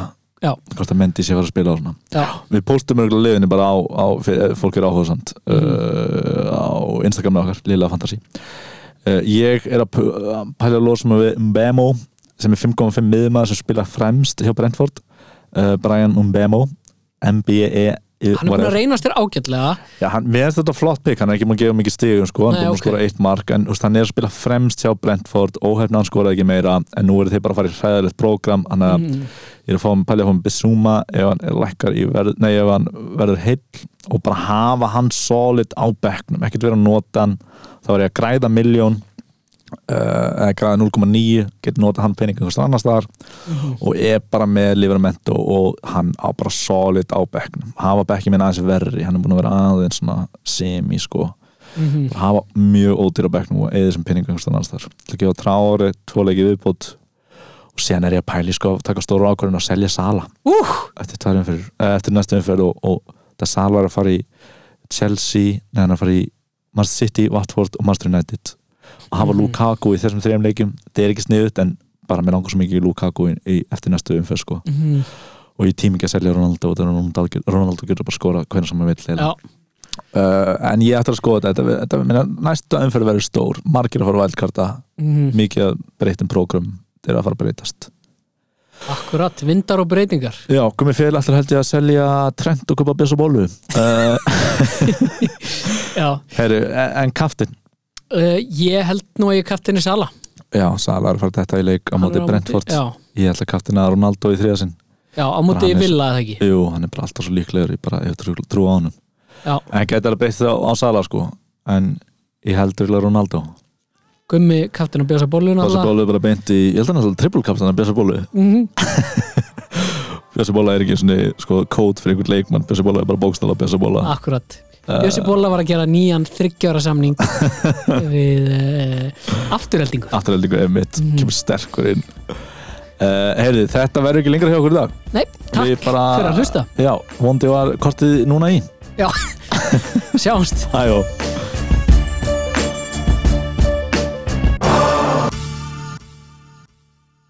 Speaker 2: Já,
Speaker 3: hvort að Mendy sé að fara að spila á svona
Speaker 2: já,
Speaker 3: við póstum örgulega liðinu bara á, á fyrir, ef fólk er áhugasamt
Speaker 2: Mhm.
Speaker 3: uh, á Instagramið okkar, Lilla Fantasí uh, ég er að pu- að pælja að losa mig við Mbemo sem er 5,5 miðmaður sem spila fremst hjá Brentford uh, Brian Mbemo E MBE
Speaker 2: hann er búin að reynast þér ágætlega
Speaker 3: Já, hann, mér finnst þetta flott pick, hann er ekki maður að gefa mikið stigum sko, hann
Speaker 2: Nei,
Speaker 3: búið að
Speaker 2: ok.
Speaker 3: skora eitt mark en úst, hann er að spila fremst hjá Brentford óhefna hann skoraði ekki meira, en nú eru þeir bara að fara í hræðilegt prógram, hann að
Speaker 2: Mhm.
Speaker 3: ég er að fá hann pælja að fá hann Bissúma ef hann er lækkar í verð, nei, ef hann verður heill og bara hafa hann solid á bekknum, ekkert vera að nota hann þá er ég að græða miljón uh, eða græða 0,9 getur nota hann pening einhvers annars staðar og er bara með Livermento og hann á bara solid á bekknum hafa bekkin minn aðeins verri, hann er búin að vera aðeins svona semi sko Bara hafa mjög ódýr á bekknum og eða sem pening einhvers annars staðar, til að gefa trári tvoleiki viðbót og síðan er ég að pæli sko að taka stóra ákvörðin og selja Sala
Speaker 2: Úh,
Speaker 3: eftir, tvær umferð, eh, eftir næstu umferð og, og það Sala er að fara í Chelsea, neðan hann er að fara í Manchester City, Watford og Manchester United og hafa
Speaker 2: Mhm.
Speaker 3: Lukaku í þessum þrejum leikjum það er ekki sniðut en bara mér langar svo mikið í Lukaku í, í, eftir næstu umferð sko
Speaker 2: mhm,
Speaker 3: og ég tími ekki að selja Ronaldo og Ronaldo, Ronaldo getur bara skora hvernig sem hann vill
Speaker 2: já,
Speaker 3: eiginlega. uh, en ég ætla að skoða þetta, þetta, þetta minna, næsta umferð verður stór margir að fara vældkarta
Speaker 2: Mhm.
Speaker 3: mikið að breytum prógrum þeir eru að fara að breytast
Speaker 2: Akkurat, vindar og breytingar
Speaker 3: Já, Gumi Fjell ætlar held ég að selja Trent og Kupa Björs og Bólu uh,
Speaker 2: Já,
Speaker 3: heru, E, en kaftin
Speaker 2: uh, ég held nú að ég kaftinni Sala
Speaker 3: Já, Sala er að fara þetta í leik á
Speaker 2: Hann er
Speaker 3: móti Brentford
Speaker 2: Já,
Speaker 3: Ég ætla að kaftina Ronaldo í þriðasinn
Speaker 2: já á móti
Speaker 3: Hann er-
Speaker 2: Villa eða ekki
Speaker 3: Jú, hann er bara alltaf svo líklegur ég bara, ég trú, trú á honum
Speaker 2: Já,
Speaker 3: En hann gæti alveg breytt það á Sala sko en ég heldur illa Ronaldo
Speaker 2: gummi kaftin og bjósa bólun
Speaker 3: Björs og Bólu er bara beint í, ég held hann alltaf trippulkaftan að Björs og Bólu
Speaker 2: Mhm.
Speaker 3: Bjössibóla er ekki svona sko, kód fyrir einhvern leikmann Bjössibóla er bara bókstala
Speaker 2: Ah.
Speaker 3: Bjössibóla
Speaker 2: Akkurat
Speaker 3: Eh.
Speaker 2: Bjössi Bóla var að gera nýjan þryggjára samning við uh, afturheldingu
Speaker 3: afturheldingu er mitt,
Speaker 2: Mhm.
Speaker 3: kemur sterkur inn uh, heyrðu, þetta verður ekki lengra hjá okkur í dag
Speaker 2: Nei, takk
Speaker 3: Við bara-
Speaker 2: fyrir að hlusta
Speaker 3: já, vondi var kortið núna í
Speaker 2: Já, sjáumst
Speaker 3: Æjó